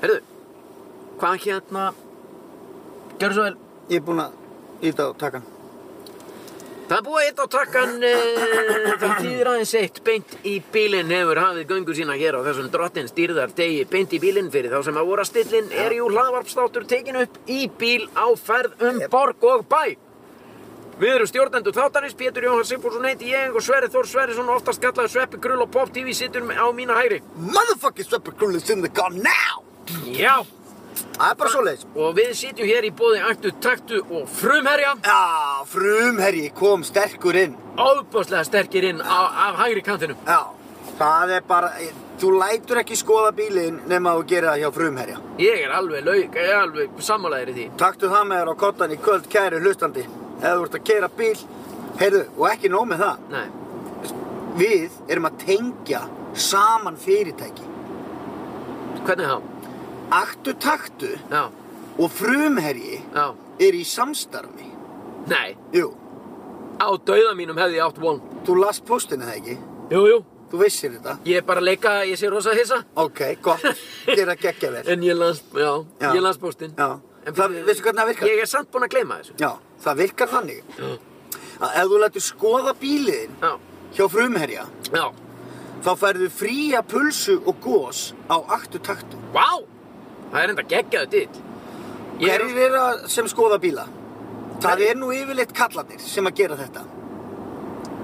Herðu, hvað hérna, gjörðu svo vel, Ég er búinn að íta á takkan. það er búið eitt á takkan, e, það þýðir aðeins eitt, beint í bílinn hefur hafið göngu sína hér á þessum drottins dýrðar degi, beint í bílinn fyrir þá sem að voru að stillin er jú hlaðvarpstátur tekin upp í bíl á ferð um borg og bæ. Við erum stjórnendur þáttarins, Pétur Jóhann Sigfússon heiti ég og Sverri Þór Sverrisson, oftast kallaði Sveppi Grull og Pop TV situr á mína hægri. Motherfucking Swepper Grill is in the car now! Já, Það er bara svo leiðis. og við sitjum hér í bóði Aktu, Taktu og Frumherja. Já, frumherji kom sterkur inn. óbúslega sterkir inn á, af hægri kantinum. Já, það er bara, þú lætur ekki skoða bílinn nema að þú gerir það hjá frumherja. Ég er alveg laug, ég er alveg sammálaðir í því. Taktu það með þér á kottan í kvöld kæri hlustandi. Ef þú ert að keira bíl, heyrðu, og ekki nóg með það. Nei, Við erum að tengja saman fyrirtæki. hvernig þá? Aktu taktu Já, og frumherji já, er í samstarfi. nei, Jú, á dauða mínum hefði ég átt von. þú last postinu það ekki? Jú, jú, Þú vissir þetta? ég er bara að leika, ég sé rosa hissa. Ok, gott. Þér að gegja þér. En ég lands, já, Já. ég lands bóstinn. Já. Það, veistu hvernig það virkar? Ég er samt búinn að gleyma þessu. Já, það virkar þannig. Að ef þú lætur skoða bíliðin Já, hjá frumherja, já, þá færðu fría pulsu og gós á aktu taktu. vá, það er enda geggjaðu dill. Ég er, Hverjir eru að- sem skoða bíla? Það er nú yfirleitt kallarnir sem að gera þetta.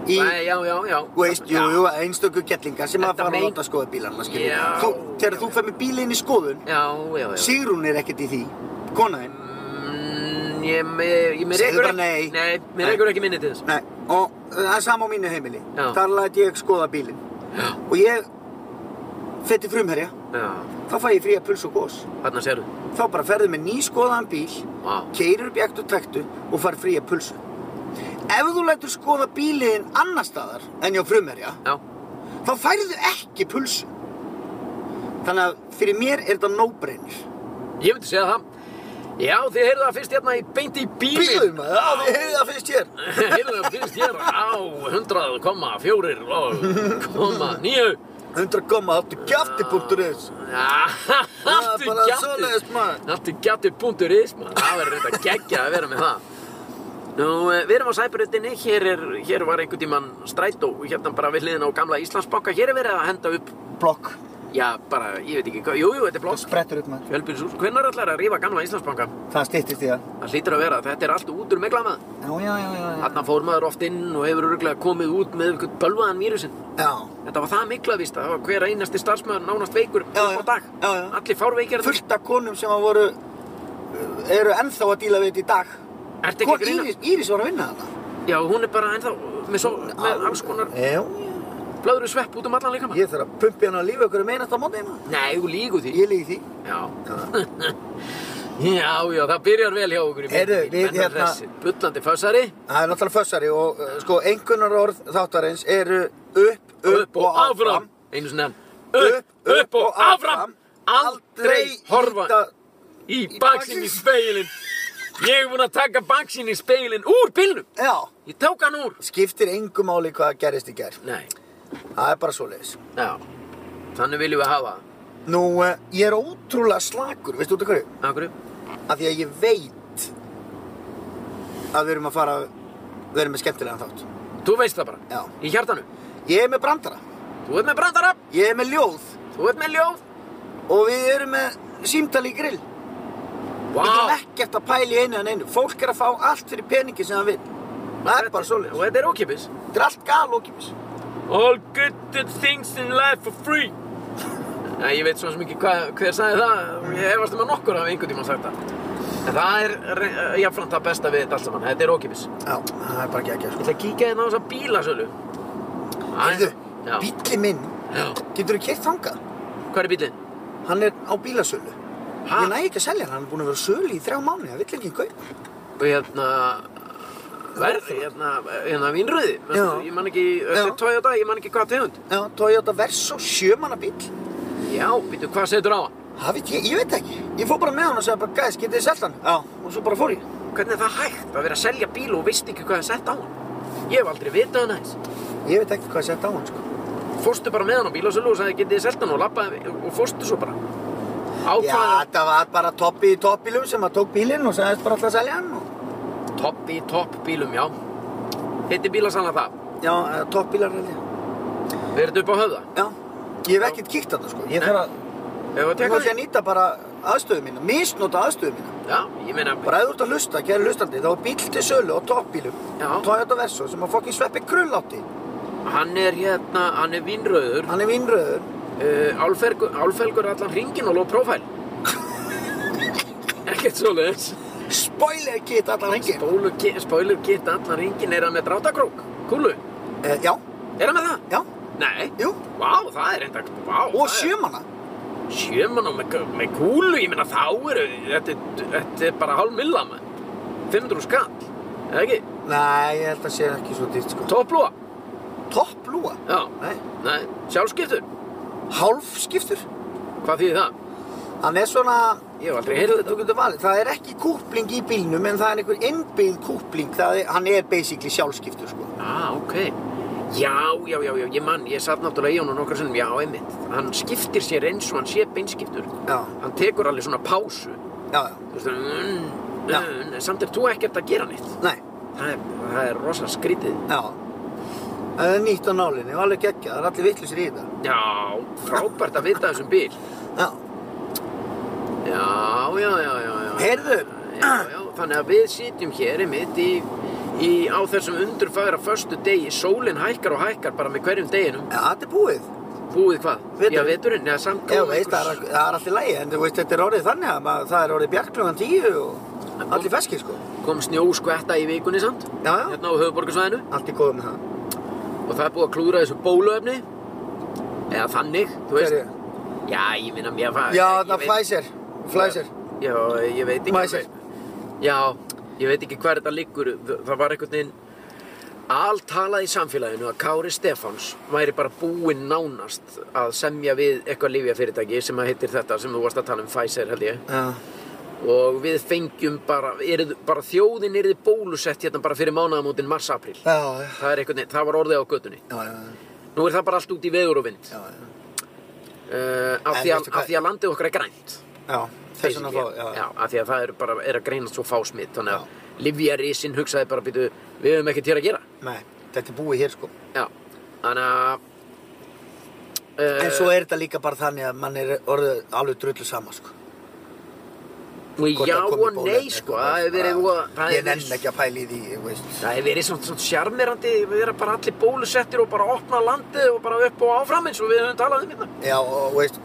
Í, Nei, já, já, já. þú veist, jú, Já. jú, einstöku kettlingar sem að Þetta fara að mein- láta skoða bílarna, skilur. Já. Þú, þegar þú fer með bílinn í skoðun, Já, já, já. Sigrún er ekkert í því, konaðinn. Mm, ég, ég, ég, mér Segðu rekur bara ekki, nei. nei, mér Nei. rekur ekki minni til þess. Nei, og það er sama á mínu heimili. Já. Þar læt ég skoða bílinn. Já. Og ég fer til frumherja, Já, þá fæ ég fría puls og gós. þarna sérðu. Þá bara ferðu með nýskoðaðan bíl, Vá. keirir upp í ekt og taktu og fær fría pulsu. Ef þú lætur skoða bílinn annar staðar en hjá frumherja, Já, þá færðu ekki pulsu. Þannig að fyrir mér er þetta no-brainer. ég myndi segja það. Já, þið heyrðu það fyrst hérna í beint í bílinn. Bílum, já, þið heyrðu það fyrst hér. heyrðu það fyrst hér á 100,4 og koma nýju. 100 koma, áttu kjafti.is. Já, Það allt er Ah, í bara gætti. svoleiðist maður. Allt í gætti.is, maður. Það verður reynda geggja að vera með það. Nú, eh, við erum á sæbrutinni, hér, er- hér var einhvern tímann strætó, hérna bara við hliðin á gamla Íslandsbanka, hér er verið að henda upp, Blokk, já, bara, ég veit ekki hvað, jú, jú, þetta er blokk, sprettur upp maður. fjölbýrshús, hvernig ætlar að rífa gamla Íslandsbanka? Það styttist í það. Það hlýtur að vera, þetta er allt út úr megla maður. Já, já, já, já, já. Þarna fór maður oft inn og hefur örgulega komið út með einhvern bölvaðan vírusinn. Já, Þetta var það mikla víst, það var hver einasti starfsmöður nánast veikur Já, já. upp á dag. Já, já. Allir fárveikir þarna. fullt af konum sem að voru eh, eru ennþá að díla við þetta í dag Ertu ekki Kon, að grínast? Íris, Íris var að vinna þetta Já, hún er bara ennþá með, svo, með alls konar Já, blöðru svepp út um allan líka maður. ég þarf að pumpi hann að lífa ykkur um einasta móti hérna Nei, þú lígu því. Ég líði því Já. já, já, það byrjar vel hjá okkur í Heyrðu, beinni. við Menn er hérna- hressir. Bullandi fössari. Það er náttúrulega fössari og uh, sko einhvernar orð þáttarins eru upp, upp, upp og áfram. Einu sinni enn. Upp, upp og áfram. Aldrei horfa líta- í baksin í speilin. Ég er búinn að taka baksin í speilin úr bílnum. Já, Ég tók hann úr. skiptir engu máli hvað gerist í gær Nei, Það er bara svoleiðis já. Þannig viljum við hafa. það. Nú, uh, ég er ótrúlega slakur, veistu út af hverju? Af hverju? af því að ég veit að við erum að fara við erum með skemmtilegan þátt Þú veist það bara. Já. Í hjartanu. ég er með brandara, Þú ert með brandara, ég er með ljóð þú ert með ljóð. og við erum með símtali í grill Vá. við erum ekkert að pæla í einu en einu fólk er að fá allt fyrir peningi sem það vil það er bara Og svoleiðis, þetta er ókipis. þetta er allt gal okkimis All good things in life for free. Já, ég veit svo sem ekki hvað, hver sagði það. og Ég hefast um að nokkur hafa einhvern tímann sagt það. En það er re- eh, jafnframt það besta við þetta allt saman. Þetta er ókipis. Ég já, það er bara ekki ekki sko. ætla að kíkja þérna á þessa bílasölu. Æ, Heyrðu, Já. bíli minn Já. getur þú keitt þangað Hvað er bílinn? hann er á bílasölu Ha? ég næ ekki að selja hann, hann er búin að vera á sölu í þrjá mánu það vill ekki kaupa Og hérna... Verð, hérna, hérna vinnröði. Já. Ég man ekki, Já. þetta er tóið á dag, ég man ekki hvað tegund. já, Toyota Verso, sjömanna bíl Já, býtu, hvað setur á hann? Það veit ég, ég veit það ekki. Ég fór bara með hann og sagði bara, gæðis, getið þið selt hann? Já. Og svo bara fór ég. Hvernig er það hægt að vera að selja bíl og veist ekki hvað það er sett á hann? Ég hef aldrei vitað hann aðeins. Ég veit ekki hvað ég sett á hann, sko. Fórstu bara með hann á bílasölu og sagði getið þið selt hann og lappaði og fórstu svo bara. Já, Ákvaða þetta var bara toppi í toppilum sem að tók bílinn og sagðist bara alltaf að selja hann og... topp í topp bílum, já. Hitti bílasala það. Já, eh, toppbílar held ég. Verðu upp á höfða. Já, ég hef ekkert kíkt á þetta sko. Ég Nei. þarf að, Ef að ég tekka þarf því. að nýta bara aðstöðu mína, misnota aðstöðu mína. Já, ég meina, Bara ef þú ert að hlusta, kæri hlustandi, þá er bíl til sölu á toppbílum. Já. Toyota Verso sem að fokkin sveppi krull átti. hann er hérna, hann er vinnröður. Hann er vinnröður. Uh, álfergu, álfelgur allan hringin og lóð prófæl. Ekkert svo leiðis. Spoiler kit allan hengi. Spoiler kit allan hringin er hann með drátakrók. Kúlu, Eh, já, er hann með það? já, Nei. jú. Vá, það er enda, vá. Og það er- sjömanna. Sjöman og með, með kúlu, ég meina þá eru, þetta, er- þetta er bara hálf milla mann. 500 skall, eða ekki? Nei, ég held að sé ekki svo dýrt sko. Topplúa, Topplúa? já, Nei, nei, sjálfskiptur, hálfskiptur. hvað þýðir það? Hann er svona, Ég hef aldrei heyrðið Þú þetta. getur valið, það er ekki kúpling í bílnum en það er einhver innbyggð kúpling, það er, hann er basically sjálfskiptur sko. Ah, ok. Já, já, já, já, ég mann, ég satt náttúrulega í honum nokkar sinnum, já, einmitt. Hann skiptir sér eins og hann sé beinskiptur. Já, Hann tekur alveg svona pásu, já, já, þú veist, mm, Já. mm, samt er þú ekkert að gera neitt. nei, Það er, það er rosa skrítið. já. Það er nýtt á nálinni og alveg geggja, það er allir vittlisir í þetta. Já, frábært að vita af þessum bíl. Já, Já, já, já, já, já. Heyrðu. Já, já, þannig að við sitjum hér einmitt í, í á þessum undurfæra föstu degi. Sólin hækkar og hækkar bara með hverjum deginum. já, þetta er búið. Búið hvað? Veturinn. Já, veturinn, eða samt Já, góðum veist, það er, það er allir lægi, en þú veist, þetta er orðið þannig að maður, það er orðið bjarklugan tíu og allir feskir sko. kom snjó skvetta í vikunni samt. Já, já, Hérna á höfuborgarsvæðinu. allt í góðum með það. Og það er búið að klúðra þessu bóluefni. Eða þannig, þú veist. Hver er- Já, ég minna mér að fara. Já, ég það veit- Pfizer, Pfizer. Já, ég veit ekki Mæsir. alveg. Já, ég veit ekki hver þetta liggur Þ- Það var einhvern veginn Altalað í samfélaginu að Kári Stefáns væri bara búinn nánast að semja við eitthvað lyfjafyrirtæki sem að heitir þetta sem þú varst að tala um Pfizer held ég Já, og við fengjum bara, erið, bara þjóðin erði bólusett hérna bara fyrir mánaðamótin mars-april já, já, það, er einhvern veginn- það var orðið á götunni já, já, Nú er það bara allt út í veður og vind já, já. uh, af, En því að, veistu hvað- af því að landið okkar er grænt Já, þess vegna Basically, þá, já, já. af því að það er bara er að greinast svo fá smitt þannig að livjarísin hugsaði bara býtu, við höfum ekkert hér að gera Nei, þetta er búið hér sko. já, þannig að eh, En svo er þetta líka bara þannig að mann er orðið alveg drullu sama sko. Hvort já það komi og bóluefni nei eitthvað sko bara. það hefur verið voða- það Ég hefur nenn verið- ekki að pæla í því, ég veist það hefur verið svona, svona sjarmerandi við erum bara allir bólusettir og bara opna landið og bara upp og áfram eins og við höfum talað um hérna Já, og veist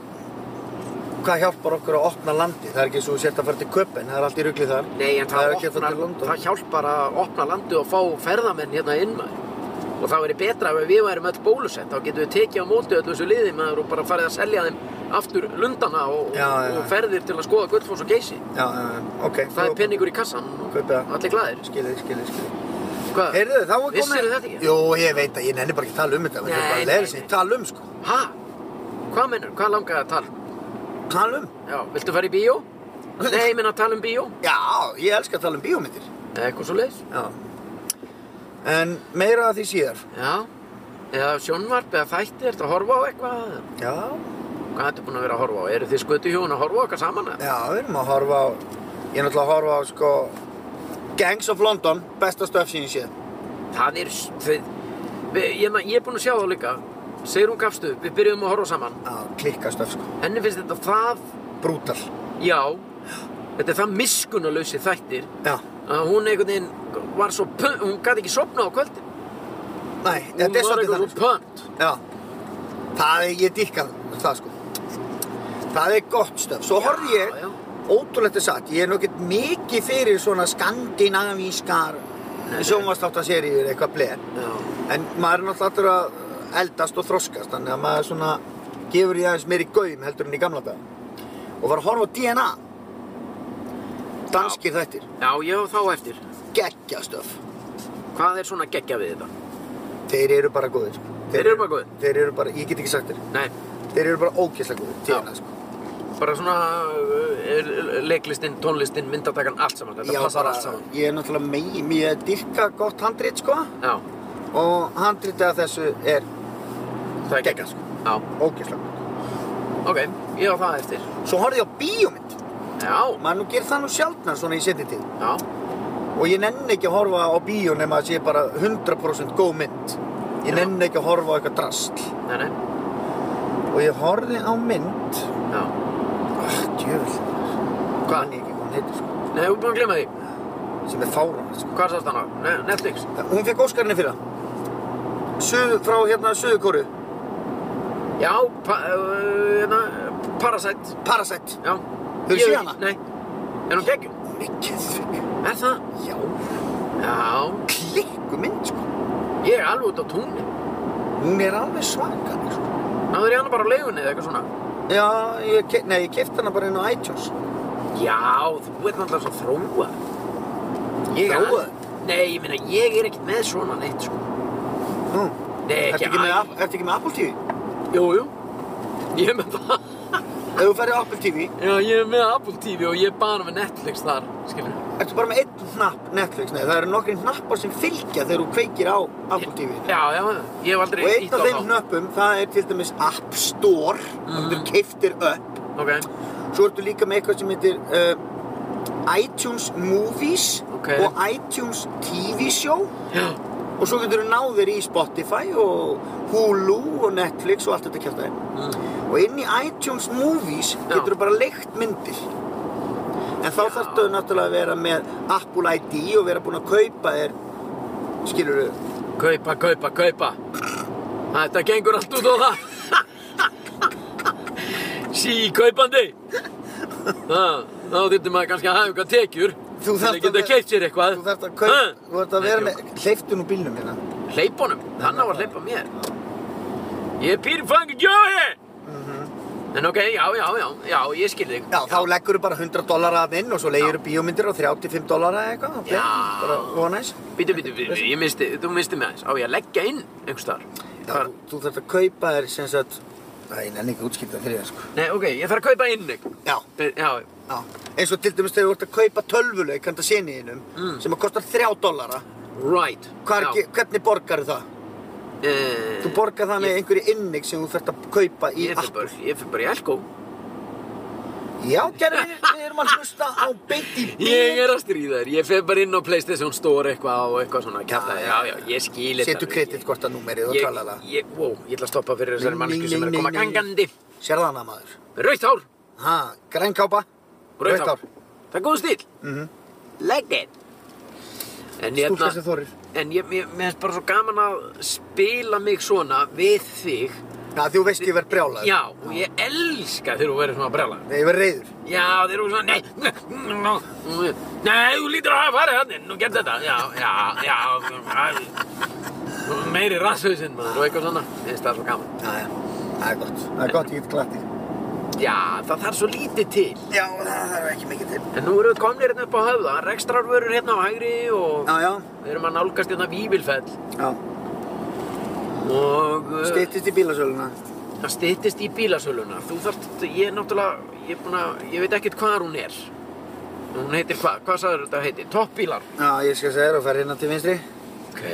Hvað hjálpar okkur að opna landi? Það er ekki svo sért að fara til Köpen, það er allt í rugli þar nei en Það það, er ekki að fara opnar, til London. það hjálpar að opna landið og fá ferðamenn hérna inn maður og það verið betra ef við værum öll bólusett þá getum við tekið á móti öllu þessu liði maður og bara farið að selja þeim aftur lundana og, Já, já, já. og ferðir til að skoða Gullfoss og Geysi Já, uh, ok það er penningur í kassan og Kaupið það. allir glæðir Skilið, skilið, skilið Hvað? Heyrðu, þá er komið Vissirðu þetta ekki? Jú, ég veit að ég nenni bara ekki að tala um þetta Þetta Nei, er bara nei, leður nei. sem ég tala um, sko Ha? Hvað mennur? Hvað langaði að tala? um? Tala um? Já, viltu fara í bíó? Nei, ég menna að tala um bíó Já, ég elska að tala um bíómyndir Eða Eitthvað svo leiðis Já En meira að því síðar Já Eða sjónvarp eða þætti, ertu að horfa á eitthvað? Já, Hvað ertu búin að vera að horfa á? Eru þið skötu hjón að horfa á okkar saman? eða? Já, við erum að horfa á, ég er náttúrulega að horfa á sko Gangs of London, besta stöf sín ég séð. Það er, þið, við, ég, man- ég er búinn að sjá það líka Sigrún gafst upp, við byrjuðum að horfa saman Já, klikka stöf sko, Henni finnst þetta það, brútal. já Þetta er það miskunalösi þættir Já, að hún einhvern veginn var svo pö- hún gæti ekki sopna á kvöldin næ, Hún þetta er var svolítið eitthvað þannig. svo pönt sko. Já, það er, ég dýrka það sko. Það er gott stöf, svo horfði ég, já. ótrúlegt er satt, ég er nokkert mikið fyrir svona skandinavískar Nei. sjónvarsláttaseríur eitthvað bleið. Já, En maður er náttúrulega alltaf að eldast og þroskast, þannig að maður svona gefur í aðeins meiri gaum heldur en í gamla daga. Og var að horfa á DNA. Danskir þættir. já, já, þá eftir Gekkjastöf. Hvað er svona geggja við þetta? Þeir eru bara góðir, sko. Þeir eru bara góðir? Þeir eru bara, ég get ekki sagt þér. Nei, Þeir eru bara ógeðslega góðir, Já. DNA, sko. bara svona uh, er- leiklistin, tónlistin, myndatakan, allt saman Þetta Já, passar allt saman Ég er náttúrulega megi, mér er dyrka gott handrit, sko. Já, Og handritið af þessu er það er geggjað, sko. Já, Ógeðslega. ok ég á það eftir. Svo horfði ég á bíómynd. Já, Maður nú gerir það nú sjálfnar svona í setni tíð. já, Og ég nenni ekki að horfa á bíó nema að sé bara 100% góð mynd. Ég Já. nenni ekki að horfa á eitthvað drasl. nei, nei, Og ég horfði á mynd. já. Ah, djöfull. Hvað? Manni ekki hvað hún heitir sko. Nei, þú er búin að glemma því. Sem er fárán sko. Hvað sást hann á? Ne Netflix? Hún fekk Óskarinn fyrir það. Suð, frá hérna Suðukóru. Já, pa uh, hérna, Parasite. Parasite. Já. Hefurðu Ég- séð hana? Nei. Er hún geggjum? Mikið Er það? Já. Já. Klikku mynd sko. Ég er alveg út á túnni. Hún er alveg svaka sko. Náður ég hana bara á leigunni eða eitthvað svona? Já, ég, ke- nei, ég kefti hana bara inn á iTunes. Já, þú ert náttúrulega svo þróa. Ég Þróaður? Nei, ég meina, ég er ekkert með svona neitt, sko. Nú, Nei, Hm, ertu ekki ekki, með, æ- App- ertu ekki með Apple TV? Jú, jú. Ég er með það. Ef þú ferði á Apple TV, Já, ég er með Apple TV og ég er bara með Netflix þar, skilur. ertu bara með einn hnapp Netflix. Nei, það eru nokkri hnappar sem fylgja þegar þú kveikir á Apple TV. Já, já, ég hef aldrei Og einn ítt á af þeim þá. hnappum, það er til dæmis App Store, mm. þannig þú keiftir upp. Ok, Svo ertu líka með eitthvað sem heitir uh, iTunes Movies Ok. og iTunes TV Show. já, Og svo getur þú náð þér í Spotify og Hulu og Netflix og allt þetta kjátt Ah. Og inn í iTunes Movies getur þú bara leikt myndir. En þá Já. þarftu þau náttúrulega að vera með Apple ID og vera búinn að kaupa þér, skilur þau, kaupa, kaupa, kaupa. Þetta gengur allt út á það. Sí, kaupandi. Ha, þá þurftum maður kannski að hafa eitthvað tekjur. Þú til þarft að geta að- keitt sér eitthvað. þú þarft að kaupa, þú þarft að vera Nei, með, hleyftun úr bílnum hérna. Hleypunum, hann á að hleypa mér. Ég er pýri fangi gjói. Mhm. En ok, já, já, já, já, ég skil þig. Já, þá leggur þú bara 100 dollara að inn og svo leiðir þú bíómyndir á 35 dollara eða eitthvað. Já. Bara og næs. Býtu, býtu, býtu, ég misti, þú misti mig aðeins. Á ég að leggja inn einhvers þar? Já, þú, þú þarft að kaupa þér sem sagt, það er nenni ekki útskipta fyrir það sko. Nei, ok, ég þarf að kaupa inn einhvern. Já, Já, já. Eins og til dæmis þegar þú ert að kaupa tölvuleik handa sinniðinum Mm. sem að kostar 3 dollara. right. Hvar, Já. ge- hvernig borgar það? Eh, Þú borgar það með ég- einhverju innig sem þú þarft að kaupa í Ég fyrir Apple. bara, ég fyrir bara í Elko. Já, gerði, við erum að hlusta á beint í bíl. Ég er að stríða þér, ég fyrir bara inn á Playstation Store eitthvað og eitthvað svona kjafta. Já, Já, Ah, já, já, ég skil þetta. Setu kreditkorta númerið og Ég, tralala. ég, wow, ég ætla að stoppa fyrir þessari Nei, mannsku nei, sem er nei, að koma nei, nei. gangandi. Sérðu hana maður? Rauðt hár, Ha, grænkápa? rauðt hár. Það er góð stíl. Like it. En hérna- ég, Mhm. Stúlka sem þorir. en ég, ég, mér finnst bara svo gaman að spila mig svona við þig. Já, þú veist ég verð brjálaður. Já, og ég elska þegar þú verður svona að brjála. Nei, ég verð reyður. Já, þeir eru svona, nei, nei, nei, þú lítur að hafa farið hann inn og gert þetta, já, já, já, já, meiri rasshausinn maður og eitthvað svona, Mér finnst það svo gaman. Já, já. Það er gott. Það er gott, ég get glatt í. Já, það þarf svo lítið til, Já, það þarf ekki mikið til. en nú erum við komnir hérna upp á höfða, rekstrarvörur hérna á hægri og Já, já. við erum að nálgast hérna Víbilfell já. og uh, Styttist í bílasöluna. það styttist í bílasöluna. Þú þarft, ég er náttúrulega, ég er búin að, ég veit ekkert hvað hún er. Hún heitir hvað, hvað sagður þetta heitir? Toppbílar. Já, ég skal segja þér og fer hérna til vinstri. Ok.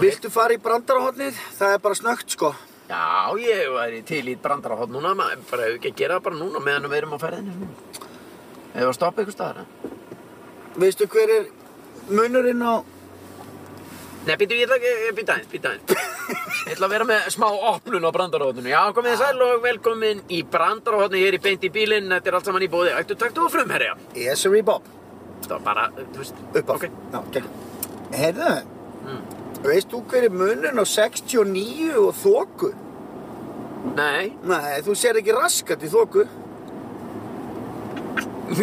Viltu fara í brandarahotnið? Það er bara snögt, sko. Já, ég væri til í brandarahótt núna, maður bara hefur ekki að gera það bara núna meðan við erum á ferðinu. Hefur að stoppa ykkur staðar? eða? Veistu hver er munurinn á... Nei, býtu, ég ætla ekki, býta aðeins, býta aðeins. Ég ætla að vera með smá opnun á brandarahóttinu. Já, komið þið sæl og velkomin í brandarahóttinu hér í beint í bílinn. Þetta er allt saman í bóði. Ættu takt og frumherja. Esri Bob. Það var bara, þú veist, Upp af. ok. Já, gegn. Herðu, Mm. veist þú hver er munurinn á 69 og þóku? Nei. Nei, þú sér ekki raskat í þóku.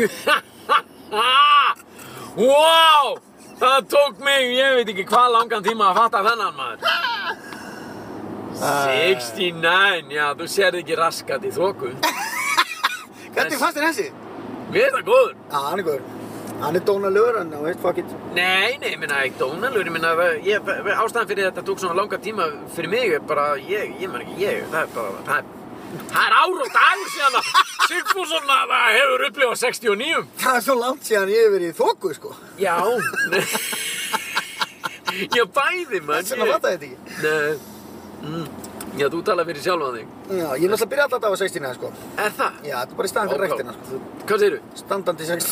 wow! Það tók mig, ég veit ekki hvað langan tíma að fatta þennan maður. 69, já, þú sérði ekki raskat í þóku. Hvernig fannst þér þessi? Við erum það góður. Já, hann er góður. Hann er dónalögur hann, þú veist, fuck it. Nei, nei, ég minna, ekki dónalur, ég minna, ég, ástæðan fyrir þetta tók svona langan tíma fyrir mig er bara, ég, ég man ekki, ég, það er bara, það er, það er ár og dagur síðan að Sigfússon að það hefur upplifað 69. Það er svo langt síðan ég hef verið í þóku, sko. Já. ég bæði, mann. Þess vegna fattaði ég þetta ekki. Nei, mm. Já, þú tala fyrir sjálfan þig. Já, ég náttúrulega byrja alltaf að 16 eða sko. Er það? Já, þetta er bara í staðan fyrir rektina sko. Hvað segirðu? Standandi 16.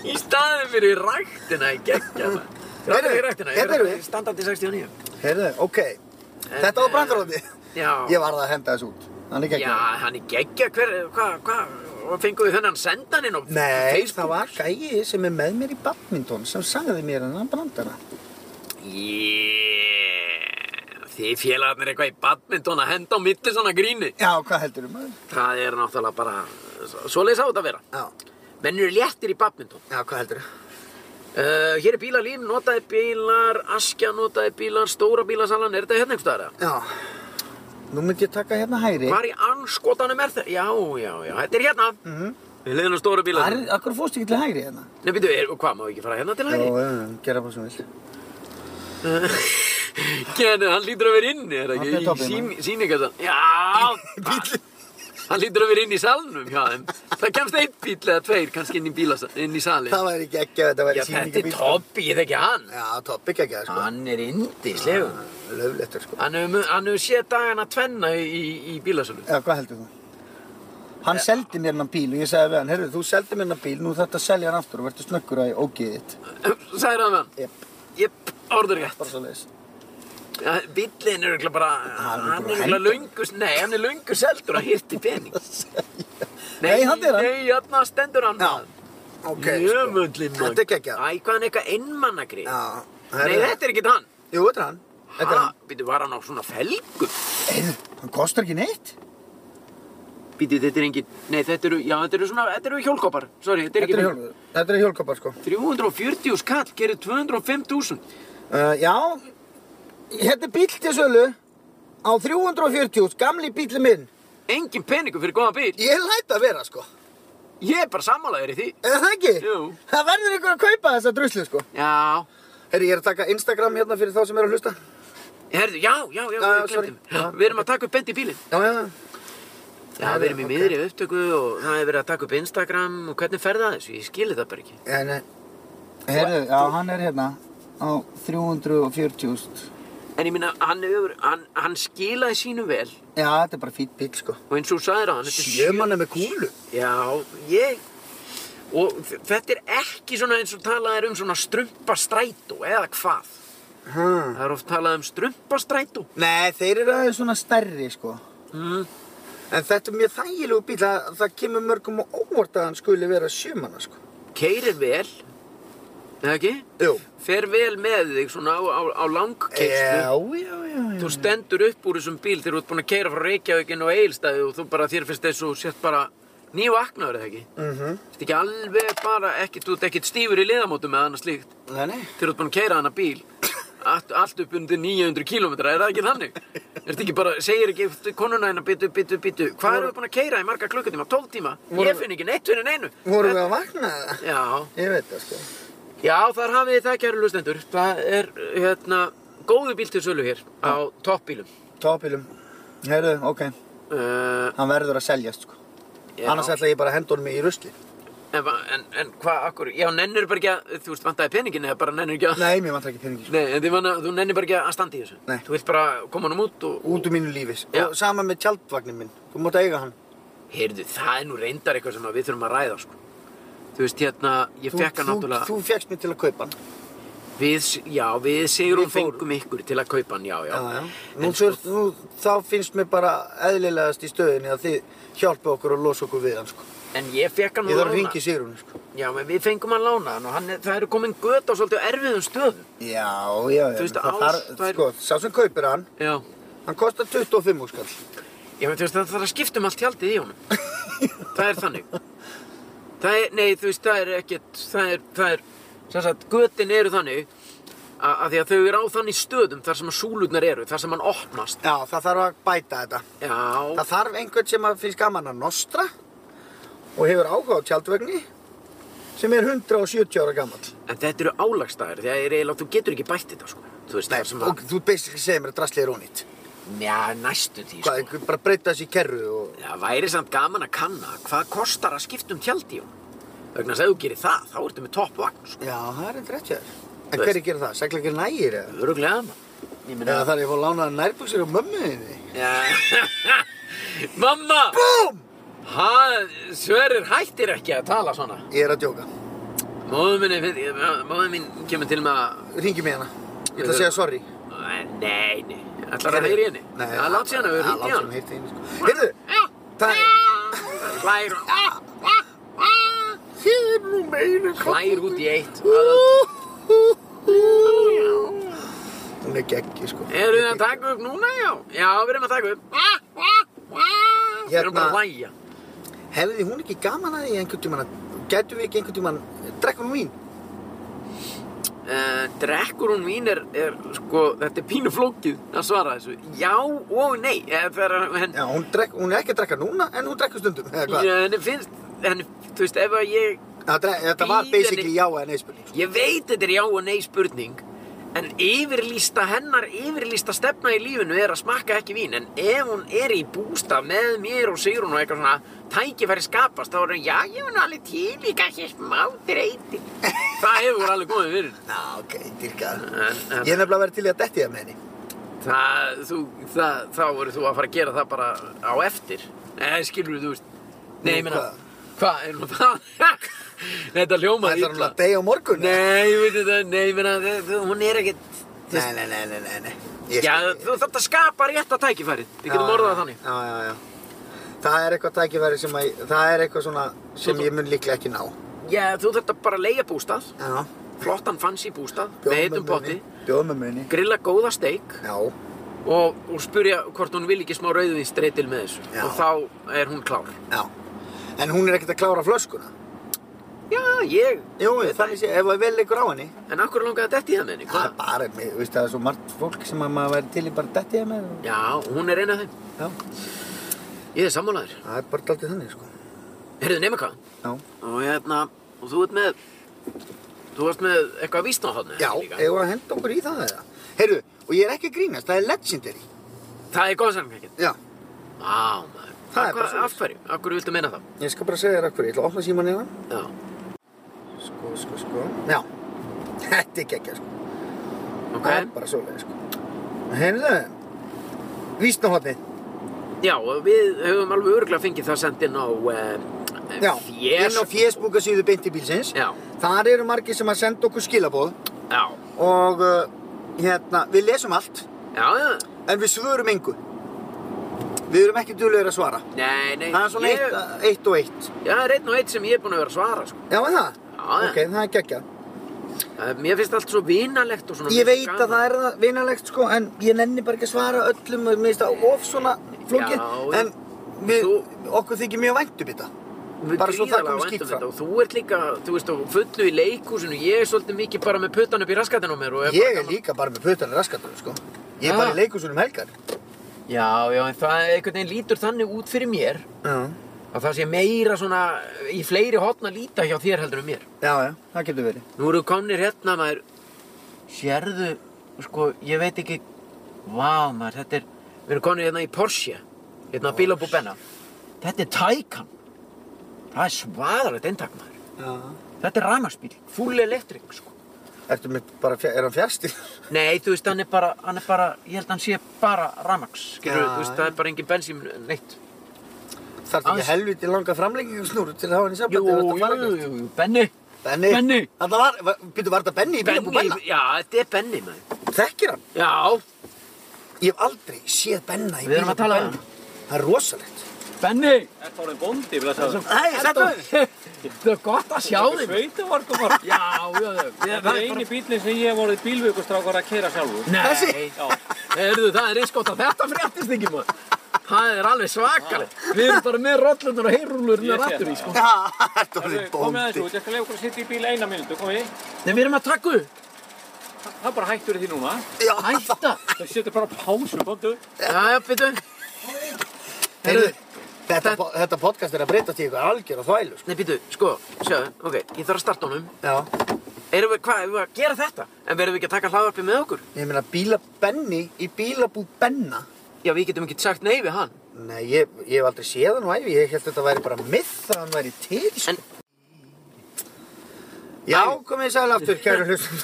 Í staðin fyrir ræktina í geggja það. Heyrðu, Ræktina í ræktina. hérna erum við. Standandi 69. Heyrðu, ok. þetta var brandaróti. Já. Ég varð að henda þessu út. Hann er ekki Já, hann er geggja. Hver, hvað, hvað? Og fenguðu þennan sendan inn á Nei, það Facebook? var gæi sem er með mér í badminton sem sagði mér hennan brandara. Yeah. Þið félagarnir eitthvað í badminton að henda á milli svona gríni. Já, hvað heldur um maður? Það er náttúrulega bara, svoleiðis á þetta að vera. Já, Menn eru léttir í badminton. já, hvað heldur um? Uh, hér er bílalíf, notaði bílar, askja notaði bílar, stóra bílasalan, er þetta hérna einhvers staðar? eða? Já, nú myndi ég taka hérna hæri. Hvar í anskotanum er þetta? Já, já, já, þetta er hérna. Mm Mhm. Við leiðum á stóra Hvar, bílasalan. akkur fórstu ekki til hæri hérna? Nei, býtu, er, hvað, má ekki fara hérna til Já, hægri? já, já, gera bara sem vil. Gerðu, hann lítur að vera inni, er það Þarna er ekki? toppinn, Í sín, síningasan. Já, Bíllinn. hann lítur að vera inni í salnum, já, en það kemst einn bíl eða tveir kannski inn í, bílasa, inn í salin. Það væri ekki ekki að þetta Já, væri þetta er sýningabíl. Tobbi, ég þekki hann. Já, topp ekki ekki að sko. Hann er indislegur. Löflettur sko. Hann hefur hann hefur séð dagana tvenna í, í, í bílasölu. Já, hvað heldur þú? Hann seldi mér hennan bíl og ég sagði við hann, herru, þú seldi mér hennan bíl, nú þetta selja hann aftur og verður snöggur að ég ógið þitt. Sæður hann hann? Jep, Jep, orður rétt. bara svo leiðis. Ja, Bíllinn er örugglega bara, Hann er hann bara er örugglega heldur. löngu, nei, hann er löngu seldur að hirti pening. Nei, hann er hann. Nei, hann stendur hann. Já, ok. sko. Jöfnvöldli mann. Þetta er ekki ekki að. Æ, hvað hann eitthvað einmannagrið. Já. Nei, þetta er ekki hann. Jú, þetta er hann. Þetta er Ha, hann. Býtu, var hann á svona felgu? Heyrðu, hann kostar ekki neitt. Býtu, þetta er engin, nei, þetta eru, já, þetta eru svona, þetta eru hjólkoppar. Sorry, þetta er Þetta ekki er hjólkoppar. Þetta er hjólkoppar sko. 340 skall gerir 205.000. Uh, já, þetta er bíl til sölu á 340, gamli bíli minn. Engin peningur fyrir góða bíl. Ég læt að vera sko. Ég er bara sammálaður í því. Eða það ekki? Jú. Það verður einhver að kaupa þessa druslu sko. Já. Herri, ég er að taka Instagram hérna fyrir þá sem er að hlusta. Herðu, já, já, já, Já, við já, sorry. glemtum. Já. Við erum að taka upp bent í bílinn. Já, já, já. Já, við erum í ok. miðri upptöku og það er verið að taka upp Instagram og hvernig fer það þessu? Ég skilði það bara ekki. En, eh, herri, já, hann er hérna á 340. En ég minna, hann, hefur- hann, hann skilaði sínu vel Já, þetta er bara fýtt bíl sko. og eins og þú sagðir á hann, þetta er sjö. manna með kúlu. Já, ég... Og þ- þetta er ekki svona eins og talað er um svona strumpastrætó eða hvað. Hmm. Það er oft talað um strumpastrætó. Nei, þeir eru aðeins svona stærri sko. Mm. En þetta er mjög þægilegu bíl, það, það kemur mörgum á óvart að hann skuli vera sjömanna sko. Keirir vel, eða ekki? Jú. Fer vel með þig svona á, á, á langkeistu. Já, já, já, já. Þú stendur upp úr þessum bíl þegar þú ert búinn að keira frá Reykjavíkinn og Egilstaði og þú bara þér finnst þess og sért bara nývaknaður eða ekki. Mm Þetta er ekki alveg bara, ekki, þú ert ekkert stífur í liðamótum eða annað slíkt. Nei, nei. Þegar þú ert búinn að keira hana bíl, allt, allt upp undir 900 km, er það ekki þannig? Er þetta ekki bara, segir ekki konuna hérna, bitu, bitu, bitu, hvað erum við búin að keira í marga klukkutíma, 12 tíma? Ég finn ekki neitt fyrir neinu. Vorum við að vakna það? Já, Ég veit það sko. já, þar hafið þið það kæru lustendur. Það er, hérna, góðu bíl til sölu hér á toppbílum. Tópilum. Herru, ok. Uh, Hann verður að seljast sko. já. Annars ætla ég bara að henda honum í rusli. En, hva- en, en hvað, akkur, já, nennir bara ekki að, þú veist, vantaði peningin eða bara nennir ekki að... Nei, mér vantar ekki peningi. sko. Nei, en þið manna, þú nennir bara ekki að standa í þessu. Nei. Þú vilt bara koma hann út og... Út úr mínu lífis. Já. Og sama með tjaldvagnin minn. Þú mátt eiga hann. Heyrðu, það er nú reyndar eitthvað sem að við þurfum að ræða, sko. Þú veist, hérna, ég Þú- fekk hann þú- náttúrulega... Þú fekkst mér til að kaupa hann. Við, já, við Sigrun Við fórum. fengum ykkur til að kaupa hann, já, já. Já, já. Nú, svo, nú, þá finnst mér bara eðlilegast í stöðinni að þið hjálpa okkur og losa okkur við hann sko. En ég fekk hann Ég þarf að ringi Sigrun sko. Já, en við fengum hann lánaðan og hann, er- það eru komin göt á svolítið erfiðum stöðum. Já, já, já. Þú veist, menn það ást þarf- væri- Sko, sá sem kaupir hann, Já. hann kostar 25 úrskall. Já, menn, þú veist, það þarf að skipta um allt tjaldið í honum. það er þannig. Það er, nei, þú veist, það er ekkert, það er, það er, sem sagt, götin eru þannig að, að því að þau eru á þannig stöðum þar sem að súlurnar eru, þar sem hann opnast. Já, það þarf að bæta þetta. Já, Það þarf einhvern sem að finnst gaman að nostra og hefur áhuga á tjaldvegni sem er 170 ára gammal. en þetta eru álagstæðir, því að er eiginlega, þú getur ekki bætt þetta, sko. Þú veist, Nei, það sem og að, þú basically segir mér að drasli er ónýtt. já, næstu því, Hvað, sko. sko. bara breyta þessi í kerru og... Það væri samt gaman að kanna hvað kostar að skipta um tjaldið í honum. Vegna þess að ef þú gerir það, þá ertu með topp vagn, sko. Já, það er eitthvað rétt hjá þér. En Þú hverju gerir það? Segla ekki nægir eða? Öruglega, mann. ég Eða meina þarf ég að fá að lána nærbuksir á mömmuðinni? Já. Mamma! Búm! Ha, Sverrir hættir ekki að tala svona. Ég er að djóka. Móður minni, fyrir- móður mín kemur til með að... Ringi mig hana. Ég ætla að segja sorry. Nei, nei, ætlar að heyri henni. Nei. Það látt sér hann að við Það hýtti látt sér hann. hann hýtti henni, sko. Heyrðu, Já. það Hlær, Þið er nú meira hlær út í eitt. Hún er geggi, sko. Eru þið að taka upp núna, já? Já, við erum að taka upp. Við erum bara að Hérna, hlæja. hefði hún ekki gaman að því einhvern tímann að... Gætu við ekki einhvern tímann... Drekkur hún vín? Uh, drekkur hún mín er, er, sko, þetta er pínu flókið að svara þessu. Já og nei. Eh, þegar henn, Já, hún, drek, hún er ekki að drekka núna, en hún drekkur stundum, eða hvað? henni finnst, henni, þú veist, ef að ég Það dre- Þetta var Bíðinni- basically já eða nei spurning. sko. Ég veit þetta er já og nei spurning En yfirlýsta hennar, yfirlýsta stefna í lífinu er að smakka ekki vín En ef hún er í bústa með mér og Sigrun og eitthvað svona tækifæri skapast Þá er hún, já ég hún alveg til í kannski smá dreyti Það hefur alveg komið fyrir Ná, ok, dyrkað. En, en Ég er nefnilega verið til í að detti það með henni. það, þú, það, þá verður þú að fara að gera það bara á eftir Nei, skilur þú veist Nei, ég meina, hvað? hvað er nú það? Þetta Það ljómaði er hún að deyja á morgun. Nei, ég veit þetta, nei, ég meina, þ- þ- hún er ekkert þú veist, Nei, nei, nei, nei, nei, nei. Ég Já, skil- þú þarft að skapa rétta tækifærið. Við getum Já, orðað það já, þannig. Já, já, já. Það er eitthvað tækifæri sem að, það er eitthvað svona sem ég mun líklega ekki ná. Já, þú þarft að bara leiga bústað, Já. flottan fancy bústað, Bjóð með heitum potti, Bjóð með munni. grilla góða steik Já. og, og spurja hvort hún vil ekki smá rauðvins dreytil með þessu. Já. Og þá er hún klár. Já. En hún er ekkert að klára flöskuna. Já, ég, Jú, þannig sé, ef það vel leikur á henni. en akkur langaði þetta í það með henni, Það er hvað? bara, mér- þú veist, það er svo margt fólk sem að maður væri til í bara detti það með. og- Já, hún er eina af þeim. Já. Ég er sammálaður. Það er bara daldið þannig, sko. Herðu, nema hvað? Já. Og hérna, og þú ert með, þú varst með eitthvað vísna á þarna. Já, líka. eigum við að henda okkur í það eða. Heyrðu, og ég er ekki að grínast, það er legendary. Það er góðsangleikin. Já. Á, maður. Það er Af bara hvað- svoleiðis. Af hverju? Af hverju viltu meina það? Ég skal bara segja þér af hverju, ég ætla að opna síman hérna. Já. Sko, sko, sko. Já. Þetta er geggja, sko. Ok. Það er bara svoleið, sko. Heyrðu, vísnahotni. Já, og við höfum alveg örgulega fengið það sendt inn á Já. uh, Inn á fjesbúka síðu beinti bílsins. Já, Þar eru margir sem að senda okkur skilaboð já, og uh, hérna, við lesum allt, já, já, en við svörum engu. Við erum ekki duglegir að svara. nei, nei Það er svona ég, eitt, eitt og eitt. Já, það er einn og eitt sem ég er búinn að vera að svara, sko Já, er það? Já, já. Ok, það er geggja. Það- Mér finnst allt svo vinalegt og svona Ég veit að það er það vinalegt sko, en ég nenni bara ekki að svara öllum og mér finnst það of svona flókið, Já, en við, þú- okkur þykir mjög vænt um þetta. Við bara svo það gríðarlega komi væntum skýrt þetta fram. Og þú ert líka, þú veist, á fullu í leikhúsinu Ég er svolítið mikið bara með puttan upp í raskatinn á mér og bara Ég er gaman- líka bara með putan í raskatunum sko. Ég er Já. bara í leikhúsunum um helgar. Já, já, en það einhvern veginn lítur þannig út fyrir mér Já, Að það sé meira svona í fleiri hotna líta hjá þér heldur en mér já, já, það getur verið. Nú eru komnir hérna maður Sérðu, sko, ég veit ekki Vá maður, þetta er Við erum komnir hérna í Porsche Hérna að bíla upp og benna Þetta er Taycan Það er svaðalegt eintak maður Já. Þetta er ramarsbíl, full electric sko Ertu með bara, fja- er hann fjarstil? Nei, þú veist, hann er bara, hann er bara Ég held að hann sé bara ramaks Skilur, Já, þú veist, já. það er bara engin bensín neitt Þarf Aðeins- ekki helviti langa framleggingu snúru til að hafa hann í Jú, sambandi? jú, jú, jú, Benni Benni. Benni. Þetta var, var- býttu, var þetta Benni í bílum og Benna? já, þetta er Benni maður Þekkir hann? Já, Ég hef aldrei séð Benna í Við erum bílum að tala um Benna. Það er rosalegt. Benni Þetta var einn bóndi, vil að segja það. Nei, þetta var... Það er gott að sjá þig maður. Sveitavarkum var. Já, já, já Þetta er eini bílinn sem ég hef orðið bílvíkustrákar að kera sjálfur. Nei, Þessi? Já. heyrðu, það er eins gott að þetta fréttist ekki maður. Það er alveg svakalegt. Við erum bara með rollunar og heyrúlur Ég með sé rattur í, það, sko. Já, þetta var því Komið aðeins bóndi. út, ég skal leiða okkur að sitja í bíl eina mínútu, komið. Nei, við erum að taka upp. Það er bara hættur í því núna. Já, Hætta. Þau setur bara á pásu, komdu. Já, já, byrju. heyrðu, Heyrðu, þetta, po- þetta podcast er að breyta til ykkur algjör og þvælu, sko. nei, byrju, sko, sjáðu, ok, ég þarf að starta honum. Já, Erum við, hvað, erum við að gera þetta? En verðum við ekki að taka hlaðvarpið með okkur? ég meina bíla Benni í bílabú Benna. Já, við getum ekki sagt nei við hann. Nei, ég, ég hef aldrei séð hann á æfi, ég held að þetta væri bara myth að hann væri til, sko. En- Já, komið sæl aftur, kæru hlustum.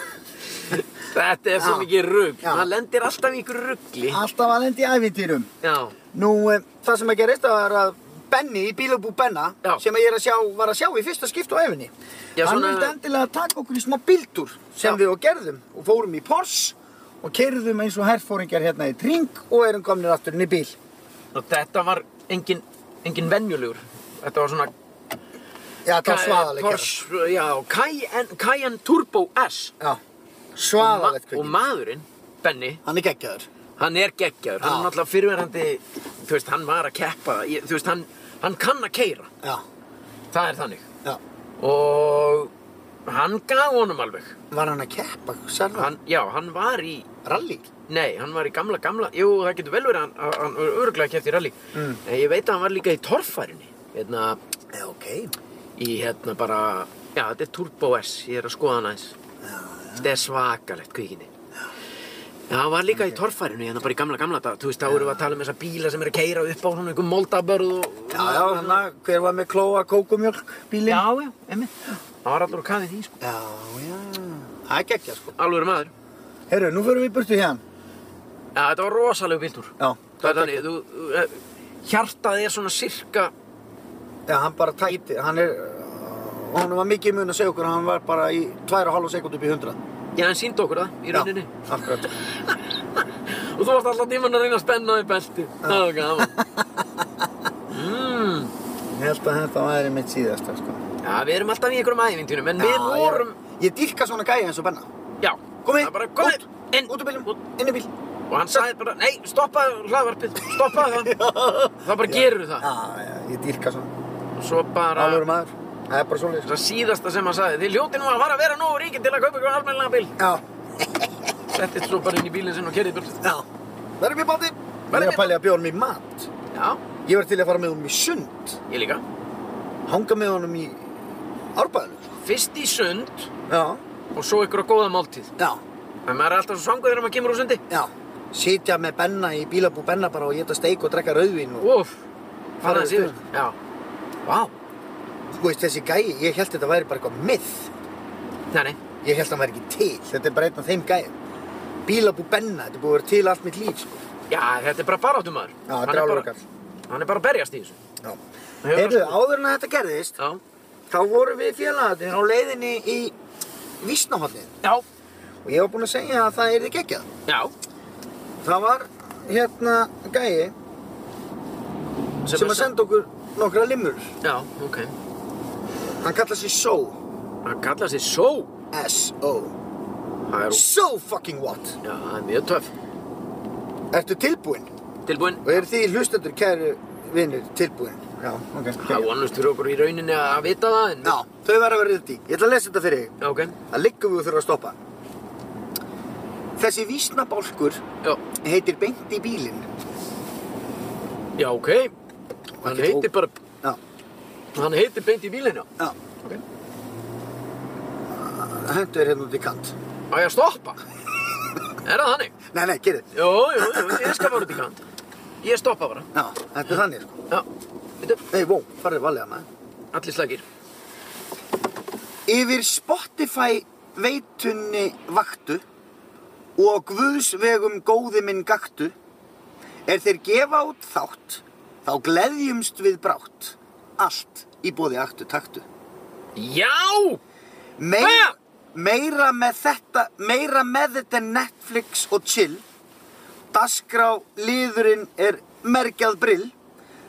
Þetta er svo Já. mikið rugg. Já. Það lendir alltaf í ykkur ruggli. Alltaf að lendi í ævintýrum. Já. Nú, eh, það sem að gerist það var að Benny í bílabú Benna, Já. sem að ég er að sjá, var að sjá í fyrsta skipt á æfinni. Já, Hann svona- vildi endilega taka okkur í smá bíltúr sem Já. við og gerðum og fórum í Porsche og kerðum eins og herfóringjar hérna í tring og erum komnir aftur inn í bíl. Og þetta var engin, engin venjulegur. Þetta var svona... Já, það var svaðalega. Porsche, já, Cayenne, Cayenne Turbo S. Já, Og ma- svaðalegt Og kvikið. maðurinn, Benny, Hann er geggjaður. hann er geggjaður. Hann Já. er náttúrulega fyrirverandi, þú veist, hann var að keppa. Ég, þú veist, hann, hann kann að keira. Já, Það er þannig. já. Og hann gaf honum alveg. Var hann að keppa? Sérðu? Hann... Hann, já, hann var í Rally? Nei, hann var í gamla, gamla, jú, það getur vel verið að hann, að hann var öruglega kæft í rally. Mm. En ég veit að hann var líka í torfærinni, hérna, Já, ok. í hérna bara, já, þetta er Turbo S, ég er að skoða hann aðeins. Þetta er svakalegt, kvíkinni. Já, hann var líka í torfærinu, hérna bara í gamla, gamla dag, þú veist, þá erum við að tala um þessa bíla sem eru að keira upp á svona einhver moldabörð og... Já, já, hann að hver var með klóa kókumjölk bílinn? Já, já, emmi. Það var allur að kafið því, sko. Já, já. Það er geggjað sko. Alveg maður. Herru, nú förum við í burtu hér. Já, þetta var rosalegu bíltúr. Já. Það er þannig, þú, þú- eh, hjartað er svona sirka, Já, hann bara tæti, hann er, uh, honum var mikið mun að segja okkur að hann var bara í 2,5 sekund upp í 100. já, hann síndi okkur það í rauninni. Já, akkurat. Og þú varst alltaf tíman að reyna að spenna því belti. Það var gaman. mm. Ég held að þetta væri mitt síðasta sko. Já, við erum alltaf í einhverjum ævintýrum, en Já, við vorum... Ég, ég dýrka svona gæja eins og Benna. Já, Komið, það er bara komið út, inn. út úr bílum, Út. inn í bíl. Og hann sagði bara, nei, stoppaðu hlaðvarpið, stoppaðu það. Það bara gerur það. Já, já, ég dýrka svona. Og svo bara, Alvöru maður. Það er bara svoleiðis. það síðasta sem hann sagði, þið hljóti nú að fara að vera nógu ríkir til að kaupa ykkur almennilega bíl. Já, Settist svo bara inn í bílinn sinn og kerði bílinn. já. Verðum við báði? Verðum Verðum í við pælið að bjóða honum í mat. Já, Ég var til að fara með honum í sund. ég líka. Hanga með honum í árbæðinu. Fyrst í sund Já. og svo ykkur á góða máltíð. Já, En maður er alltaf svo svangur þegar maður kemur úr sundi. já. Sitja með Benna í bílabú Benna bara og geta steik og drekka rauðvin og Úf, Fara fara í það síður. sund. Já. Vá. þú veist þessi gæi, ég held þetta væri bara eitthvað myð. Nei, nei. Ég held hann væri ekki til. Þetta er bara einn af þeim gæi. Bílabú Benna, þetta er búið að vera til allt mitt líf, sko. Já, þetta er bara baráttumæður. Já, þetta er alveg kall. Hann er bara að berjast í þessu. Já. Hefur Heyrðu, sko- áður en að þetta gerðist, Já. þá vorum við félagarnir á leiðinni í Vísnahóllin Já. og ég var búinn að segja að það er ekki ekki það. Já. Það var hérna gæi sem, er að senda okkur nokkra limur. Já, ok. Hann kallaði sig So. Hann kallaði sig Só. S-O. Það er, So fucking what? já, það er mjög töff. Ertu tilbúinn? Tilbúinn. Og eru þið hlustendur, kæru vinnir, tilbúinn? Já, ok. Það vonast fyrir okkur í rauninni að vita það, en... Já, þau verða að vera þetta í. Ég ætla að lesa þetta fyrir þig. Já, ok. Það liggum við og þurfa að stoppa. Þessi vísnabálkur Já. heitir beint í bílinn. Já, ok. Hann Ekkert heitir ó- bara... Já, Hann heitir beint í bílinu. já. Ok. Hentu er hérna út í kant. Á ég að stoppa? er það þannig? Nei, nei, gerði. Jó, jú, jú, ég skal fara út í kant. Ég stoppa bara. Já, þetta er þannig, sko. Já. Veitu, Nei, vó, farið valega maður. allir slagir. Yfir Spotify veitunni vaktu og guðsvegum góði minn gaktu er þeir gefa út þátt þá gleðjumst við brátt allt í bóði aktu taktu. Já! Meira, Ha? meira með þetta, meira með þetta en Netflix og chill. Dasgrá liðurinn er mergjað brill.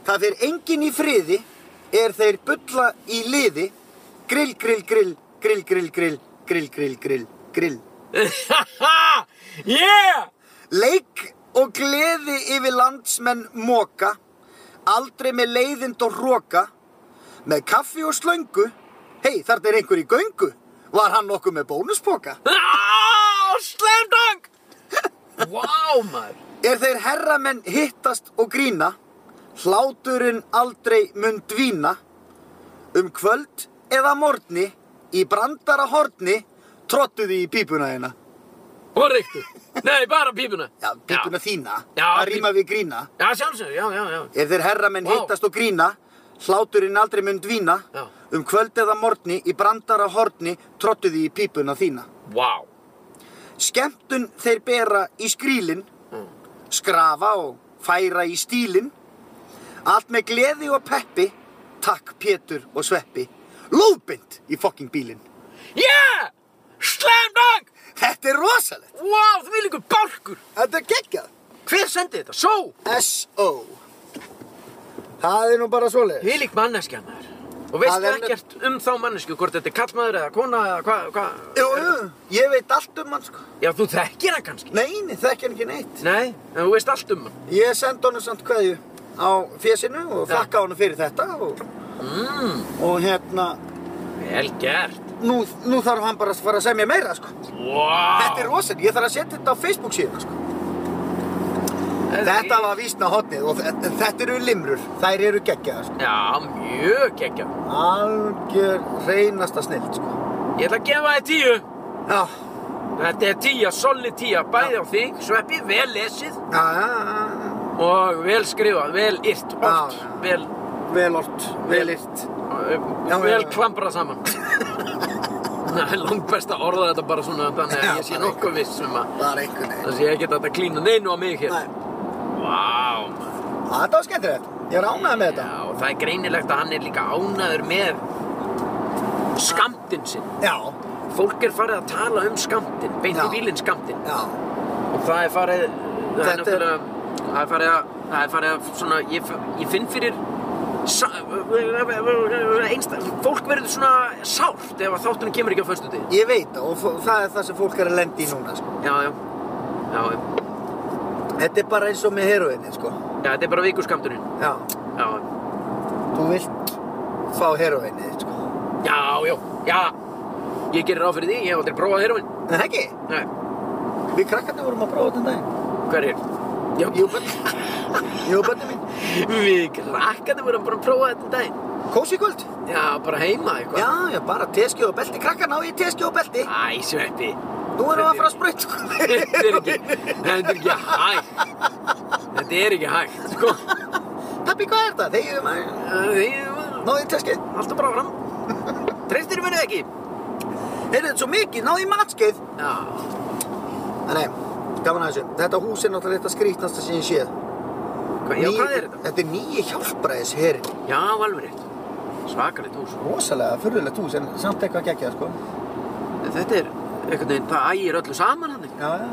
Það fer enginn í friði, er þeir bulla í liði. Grill, grill, grill, grill, grill, grill, grill, grill, grill, grill. yeah! Leik og gleði yfir landsmenn móka. Aldrei með leiðind og hróka. Með kaffi og slöngu. Hei, þarna er einhver í göngu. Var hann nokkuð með bónuspoka? Ah, slam dunk! Vá, maður. Er þeir herramenn hittast og grína, hláturinn aldrei mun dvína, um kvöld eða morgni, í brandara horni, trottuði í pípuna hérna. Og reyktu. Nei, bara pípuna. Já, pípuna þína, Já, að pí- rýma við grína. Já, sjálfsögur, já, já, já. Er þeir herramenn Vá. hittast og grína, hláturinn aldrei mun dvína, Já. um kvöld eða morgni, í brandara horni, trottuði í pípuna þína. Vá. Skemmtun þeir bera í skrílin, skrafa og færa í stílin. Allt með gleði og peppi, takk Pétur og Sveppi, lóðbind í fokking bílinn. Yeah! Slam dunk! Þetta er rosalegt. Wow, því líkur bálkur! Þetta er geggjað. Hver sendi þetta? Só! S.O. Það er nú bara svoleiðis. Því lík manneskja maður. Og veistu Það er- ekkert um þá mannesku, hvort þetta er kallmaður eða kona eða hvað, hvað? Jú, jú, ég veit allt um hann sko. Já, þú þekkir hann kannski. Nei, nei, þekki hann ekki neitt. Nei, en þú veist allt um hann. Ég sendi honum samt kveðju á fésinu og Já. þakka honum fyrir þetta og, Mm, og hérna, vel gert. nú, nú þarf hann bara að fara að semja meira sko. Wow. Þetta er rosalegt, ég þarf að setja þetta á Facebook síðan sko. rosa. Þetta var vísna hotnið og þe- þetta eru limrur, þær eru geggjaðar sko. Já, mjög geggja. Algjör reynasta snild sko. Ég ætla að gefa þið tíu. Já, Þetta er tíja, solid tíja, bæði á þig, sveppi, vel já, lesið já, já, og vel skrifað, vel yrt, oft, Já, já. vel, vel orrt, vel yrt. Já, uh, já, vel já. klambrað saman. Það er langt best að orða þetta bara svona þannig Já, að ég sé bara nokkuð viss um að Það er einhvern veginn. það sé ekki þetta klína neinu á mig hér. Nei, Vá, maður. Þetta var skemmtilegt, ég er ánægð með þetta. Já, og það er greinilegt að hann er líka ánæður með skamtinn sinn. Já, Fólk er farið að tala um skamtinn, beint í Já. bílinn skamtinn. já, Og það er farið, það Þetta er er- náttúrulega, það er farið að, það er farið að svona, ég, f- ég finn fyrir, sa- einsta, fólk verður svona sárt ef að þáttunum kemur ekki á föstu degi. ég veit það og f- það er það sem fólk er að lenda í núna, sko. Já, já, já, já, Þetta er bara eins og með heroinni, sko. já, þetta er bara vikurskampturinn, Já, já, þú vilt fá heroinni, sko. já, já, já, ég gerir ráð fyrir því, ég hef aldrei prófað heroinn, En það ekki, nei, við krakkarnir vorum að prófa þetta um daginn. hver er, já, Jú, bönni. Jú, bönni mín. við krakkandi vorum bara að prófa þetta um daginn, Kósi kvöld. já, bara heima eitthvað. Já, já, Ah, bara teskið og belti. Krakkarn á ég teskið og belti. Æ, sveppi, Nú erum við að fara að spröyt, sko. þetta er ekki, þetta er ekki hægt, þetta er ekki hægt, sko. Pappi, hvað er þetta? Þegar maður... Alltaf Náðu í teskið. bara fram Treystir mér ekki Heyrðu, þetta er svo mikið. Náðu í matskeið. Já, Nei, gaman að þessu. Þetta hús er náttúrulega þetta skrítnasta sem ég séð. hva, já hvað er þetta? Þetta er nýji hjálpræðis herin. Já, alveg rétt Svakalegt hús Rosalega, furðulegt hús, en samt eitthvað geggjað, sko. Þetta er einhvern veginn, það ægir öllu saman hann Já, já.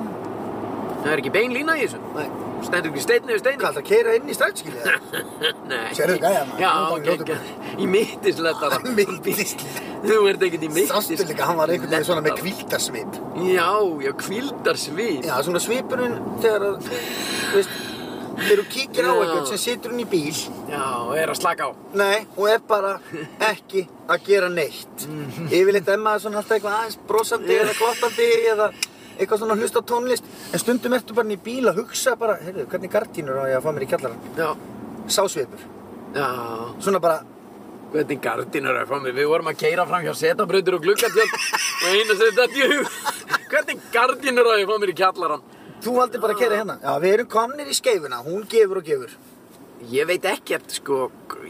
Það er ekki bein lína í þessu Nei, Stendur ekki steinn yfir steinn hvað ætlar að keira inn í strætskilið? eða? Nei Sérðu gæja, maður? Já, Nú er bara í ljótu geggjað. í mittislettara Mittislettara. Þú ert ekkert í mittislettara Sástu líka, hann var einhvern veginn svona með kvíldasvip. Já, já, kvildarsvip Já, svona svipurinn þegar að, þú veist, þegar þú kíkir á Já. einhvern sem situr hún í bíl, Já, er að slaka á nei, og er bara ekki að gera neitt. Yfirleitt er maður svona alltaf eitthvað aðeins brosandi eða glottandi eða eitthvað svona að hlusta á tónlist, en stundum ertu bara inn í bíl að hugsa bara, heyrðu, hvernig gardínur á ég að fá mér í kjallarann? Já, Sásvipur. já Svona bara, Hvernig gardínur er að fá mig? Við vorum að keira fram hjá setabrautur og gluggatjöld og einu sem þetta í hug. Hvernig gardínur er að fá mér í kjallarann? þú valdi bara að keira hérna. Já, við erum komnir í skeifuna, hún gefur og gefur. Ég veit ekkert, sko,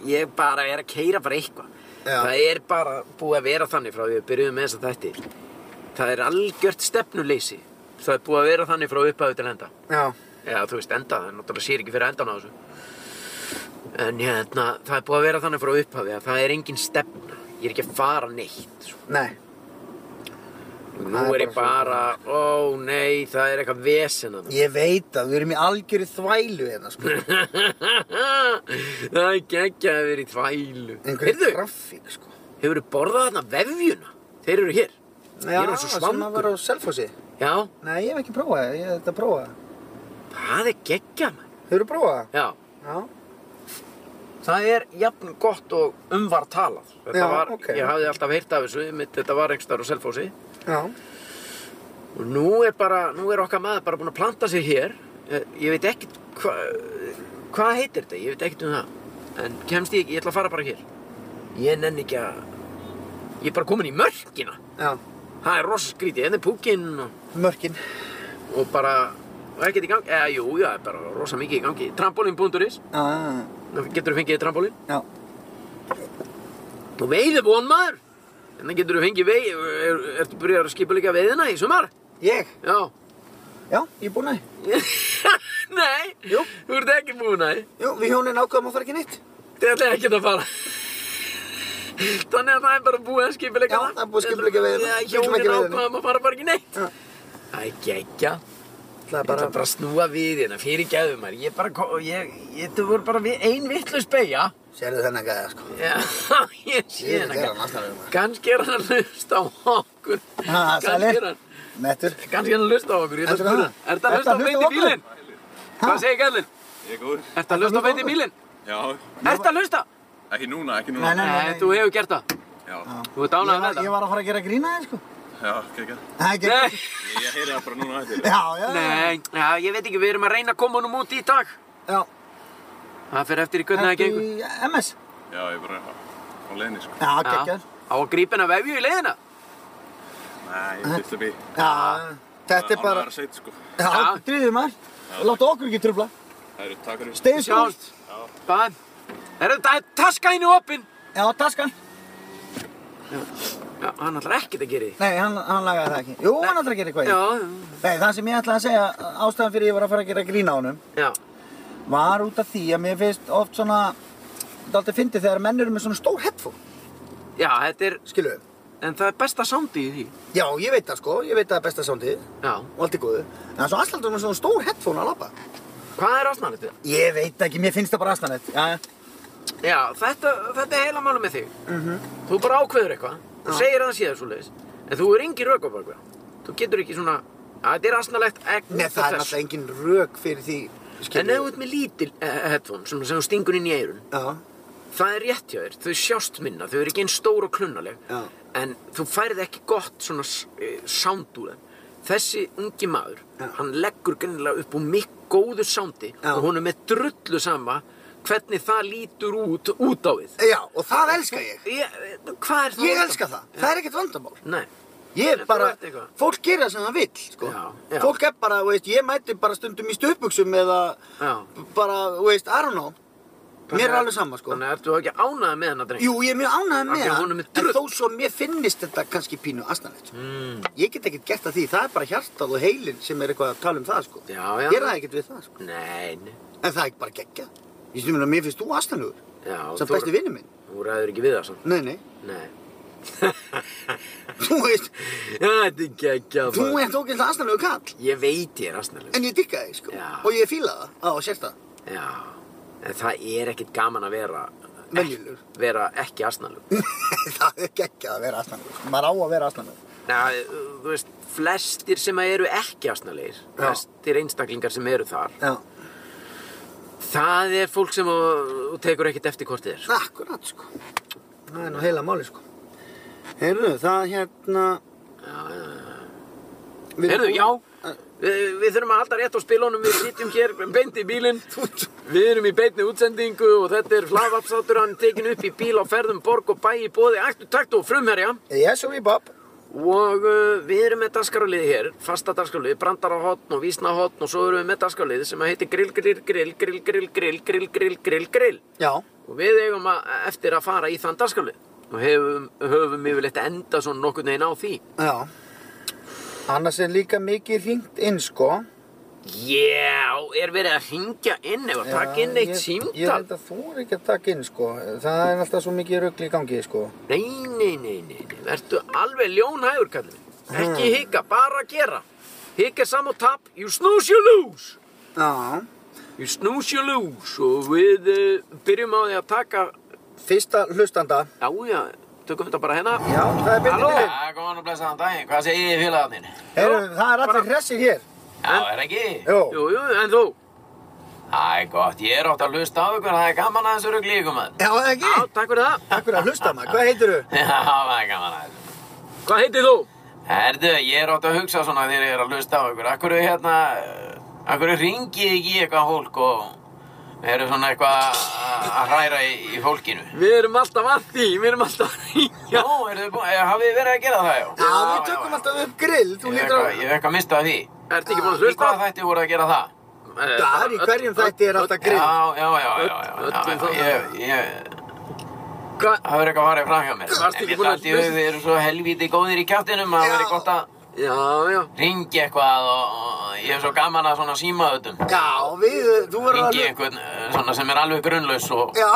ég bara er að keira bara eitthvað. Já. Það er bara búið að vera þannig frá því við byrjuðum með þess að þætti. Það er algjört stefnuleysi. Það er búið að vera þannig frá upphæðu til enda. Já. Já, þú veist, enda, það er náttúrulega sér ekki fyrir endan á þessu. En hérna, það er búið að vera þannig frá upphæðu að það er engin stefna. Ég er ekki að fara neitt, sko. Nei. Nú Það er er ég bara, bara ó nei, það er eitthvað vesen að Ég veit að við erum í algjöru þvælu hérna, sko. Það er geggja að vera í þvælu. Einhverju Heyrðu, graffík, sko. hefur þú borðað þarna vefjuna? Þeir eru hér. Ég er svo sem að svangur. vera á Selfossi. Já, Nei, ég hef ekki prófað það, ég hef þetta prófað það. það er geggja maður. Þau eru prófað það? Já, Já. það er jafn gott og um var talað. Þetta Já, var, ok. ég hafði alltaf heyrt af þessu, mitt, þetta var einhverstaður á Selfossi. Já. Og nú er bara, nú er okkar maður bara búinn að planta sig hér. Eh, Ég veit ekkert hvað, hvað heitir þetta, ég veit ekkert um það. En kemst ég, ég ætla að fara bara hér. Ég nenni ekki að, ég er bara kominn í mörkina. Já. Það er rosa skrítið, hérna er púkinn og, Mörkin. og og bara, og ekkert í gangi, eða jú, já, það er bara rosa mikið í gangi. Trampolín.is, Já, já, nú getur þú fengið trampolín. Ah, já. Og veiði von maður, hérna getur þú fengið veið, er, ertu byrjar að skipa líka veiðina í sumar? Ég? Já. Já, ég er búinn að því. Nei, Jú. þú ert ekki búin að því. Jú, við hjónin ákvaðum að fara ekki neitt. Þið ætlaði ekki að fara. Þannig að það er bara búið að skipilegja Já, það er búið að skipuleggja veiðina. það. Við viljum Hjónin ekki veiðina. ákvaðum að fara bara ekki neitt. Já. Það er geggja. Það Ég ætla bara að snúa við hérna, fyrir gæðum maður. Ég bara, ko- ég, ég, þú voru bara við ein vittlust beigja. Sérðu þennan gæða, sko. Já, ég sé Sérðu hérna. gæðan, alltaf erum við. Kannski er hann að hlusta á okkur. Ha, Kannski Ah, sælir. er hann, Mettur. kannski er hann að hlusta á okkur. Ég ætla að Heldurðu spyrja. það? Er það að Ertu að hlusta hlusta á á beint í okkur? bílinn? Ha? Hvað segir gæðlinn? Ég er góður. Er það að hlusta á beint í bílinn? Já, Er það að hlusta? ekki núna, ekki núna. Nei, nei. Nei, þú hefur gert það. Já, Þú ert Ég ánægð var, með ég þetta. var að fara að gera grína þér, sko. já, kekja. Það er ekki. Nei, Ég heyri það bara núna eftir. Já, já, já. nei, já, ég veit ekki, við erum að reyna að koma honum út í dag. Já. Það fer eftir í hvernig það Ertu gengur. í MS. Já, ég er bara á leiðinni, sko. Já, Já. geggjör. Á að grípa hennar vefju í leiðina. Nei, ég fyrst upp í. Já, þetta er bara, Ánægðar sveit, sko. já, Já. drýðum maður. Láttu okkur ekki trubla. Það eru takkar í. Steins góð. Sjáumst. Bæðan. Er þetta taska henni opinn? Já, taskan. Já, hann ætlar ekkert að gera því. Nei, hann, hann lagaði það ekki. Jú, hann ætlar að gera eitthvað. í. Já, Nei, það sem ég ætlaði að segja, ástæðan fyrir ég var að fara að gera grína á honum, já, var út af því að mér finnst oft svona, þetta er alltaf fyndið þegar menn eru með svona stór headphone, já, þetta er, skilu. en það er besta sándi í því. Já, ég veit það sko, ég veit það er besta sándið Já, og allt er góðu. En svo aðslandur með svona stór headphone að labba. hvað er ásnarnið þetta? Ég veit ekki, mér finnst það bara aðslanett. Já, já. Já, þetta, þetta er heila málum með þig. Mhm. Þú bara ákveður eitthvað, þú segir að það séð svo leiðis, en þú er engin rök á bakveða. Þú getur ekki svona, að þetta er ásnarlegt ekki Nei, það er alltaf engin rök fyrir því, En ef þú skilu. ert með lítil eh, headphone, svona sem þú stingur inn í eyrun, Já, það er rétt hjá þér, þau sjást minna, þau eru ekki einn stór og klunnaleg, Já. en þú færð ekki gott svona s- eh, sound úr þeim. Þessi ungi maður, Já. hann leggur greinilega upp úr mikk góðu soundi Já. og hún er með drullu sama hvernig það lítur út, út á við. já, og það elska ég. Ég, hvað er það? Ég elska það, það er ekkert vandamál. Nei, Ég En er þú bara, ert eitthvað. fólk gerir það sem það vill, sko. Já, já. Fólk er bara, þú veist, ég mæti bara stundum í stöpuksum eða Já. bara, þú veist, I don't know. Mér er alveg sama, sko. þannig ertu ekki ánægð með hennar dreng. Jú, ég er mjög ánægð Af með því að það, honum er en drull. þó svo mér finnist þetta kannski pínu astanlegt. Mm. Ég get ekkert gert að því, það er bara hjartað og heilin sem er eitthvað að tala um það, sko. Já, já. Ég ræði ekkert við það, sko. Nei, nei. En það er ekki bara geggja. Ég stundum að mér finnst þú astanlegur, Já, sem besti vinnu minn. Þú ræður ekki við það samt. Nei, nei, Nei. þú veist, Þetta er geggjað. þú maður. ert ógæðslega astanlegur kall. Ég veit ég er aðsnæðileg. En ég dyrka þig, sko. Já. Og ég fíla það, á, sérst það. Já, en það er ekkert gaman að vera Venjulegur. vera ekki asnalur. það er geggjað að vera astanlegur. Maður á að vera astanlegur. Nei, þú veist, flestir sem eru ekki asnalegir, Já. flestir einstaklingar sem eru þar, Já. það er fólk sem uh, tekur ekkert eftir hvort þið er. Akkurat, sko. Það er nú heila máli, sko. Heyrðu, það hérna... Við erum Heyrðu, búin- já, við, við þurfum að halda rétt á spilunum, við sitjum hér beint í bílinn, við erum í beinni útsendingu og þetta er hlaðvarpsáttur, hann er tekin upp í bíl á ferðum borg og bæ í bóði, aktu takt og frumherja. Yes, we bob. Og uh, við erum með dagskráliði hér, fasta dagskráliði, brandarahotn og vísnahotn og svo erum við með dagskráliði sem að heitir grill, grill, grill, grill, grill, grill, grill, grill, grill, grill. Já. Og við eigum að, eftir að fara í þann dagskrálið og hefum, höfum yfirleitt enda svona nokkurn veginn á því. Já. Annars er líka mikið hringt inn, sko. Já, er verið að hringja inn eða taka inn ég- eitt Ég símtal? held að þú er ekki að taka inn, sko. Það er alltaf svo mikið rugl í gangi, sko. Nei, nei, nei, nei, nei, verðu alveg ljónhægur, kallum. Ekki hika, bara gera. Hika saman og tap, you snooze, you lose. Já. Við snús ég lús og við uh, byrjum á því að taka, Fyrsta hlustanda. já já, tökum þetta bara hérna. Já, það er byrnið minn. góðan og blessaðan daginn, hvað segir þið félagarnir? Heyrðu, það er allir hressir hér. Já, er ekki? Jú. Jú, jú, en þú? Það er gott, ég er ótt að hlusta á ykkur, það er gaman aðeins eru glíkum að. Já, eða Já, ekki? takk fyrir það. Takk fyrir að hlusta maður, hvað heitir þú? Já, það er gaman aðeins. Hvað heitir þú? Herðu, ég er ótt að hugsa svona þegar ég er að hlusta á ykkur. Akkur er hérna, akkur er ringið ekki í eitthvað hólk og eru svona eitthvað að hræra í, í fólkinu. Við erum alltaf að því, við erum alltaf að ringja. Já, er þið búin, hafið þið verið að gera það, já? Já, við tökum alltaf upp grill, þú lítur Ég hef á... eitthvað- ég hef eitthvað mistað því. Ertu ekki búin að Í hlusta? hvaða þætti voru að Eh, gera það? Það er í hverjum þætti er alltaf grill. Já, já, já, já, já, Öll- já, öllum já, þáttum. ég, ég, Hva- það verður eitthvað farið fram hjá mér. Varstu En ekki ég búin að dætti við, hlusta? við erum svo helvíti góðir í kjáttinum að það Já. verður gott að Já, já. Ringi eitthvað og og ég hef svo gaman að svona símaðutum. Já, við, þú verður Ringi einhvern eh, svona sem er alveg grunnlaus og... Já,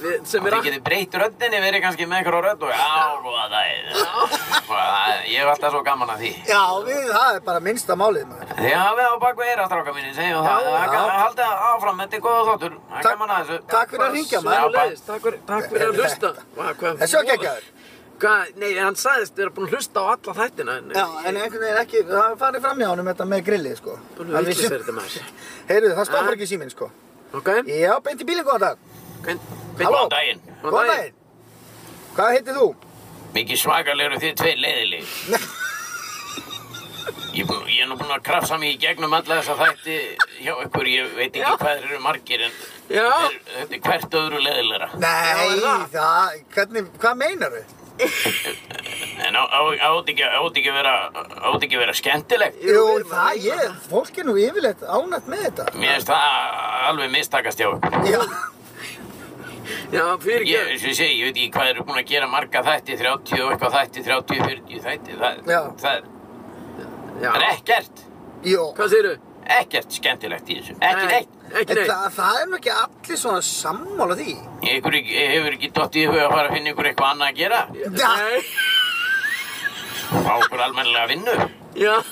Við, sem er Þið að... getið breytt röddinni, verið kannski með einhverja rödd og já, góða daginn. Bara, það- Ég hef alltaf svo gaman að því. já, við, það er bara minnsta málið maður. Þið hafið á bakvið eira, stráka mínir, segjum það. Það er gaman að halda áfram, þetta er góða þáttur. Það er Takk- gaman að þessu. Takk fyrir að ringja Já, maður. bara- Sömuleiðis, Takk fyrir, takk fyrir að hlusta. Vá, hvað... Þessu var geggjaður. Hvað, nei, hann sagðist vera búinn að hlusta á alla þættina. en- Já, en einhvern veginn ekki, það farið fram hjá honum þetta með grillið sko. Búinn að vitleisa er þetta maður. Heyrðu, það stoppar ekki síminn sko. Ok? Já, beint í bílinn, góðan dag. Hvern... Halló. Góðan daginn. Góðan daginn. Hvað heitir þú? Mikið svakalegur þið tveir leiðilegir. Ég, er bú- ég er nú búinn að krafsa mig í gegnum alla þessa þætti hjá ykkur, ég veit ekki hvað þeir eru margir en Já. þetta er- þetta er hvert öðru leiðilegra. Nei, er það? það, hvernig, hvað meinar þau? En á- á- átt ekki, átt ekki að vera, átt ekki að vera skemmtilegt. Jú, við erum að það, leysa ég, fólk er nú yfirleitt ánætt með þetta. Mér finnst það alveg mistakast hjá ykkur. Já, Já, fyrir Ég, eins og ég segi, ég veit ekki hvað þeir eru búin að gera marga þætti, 30 og eitthvað þætti, 30, 40 þætti. Það, Já. það, Já. það er ekkert, jú. Hvað segirðu? ekkert skemmtilegt í þessu. Ekki neitt. Ekki En neitt. það, það er nú ekki allir svona sammála því. Ykkur ekki- e- hefur ekki dottið í hug að fara að finna ykkur eitthvað annað að gera. Já. Nei. Fá okkur almennilega vinnu. Já.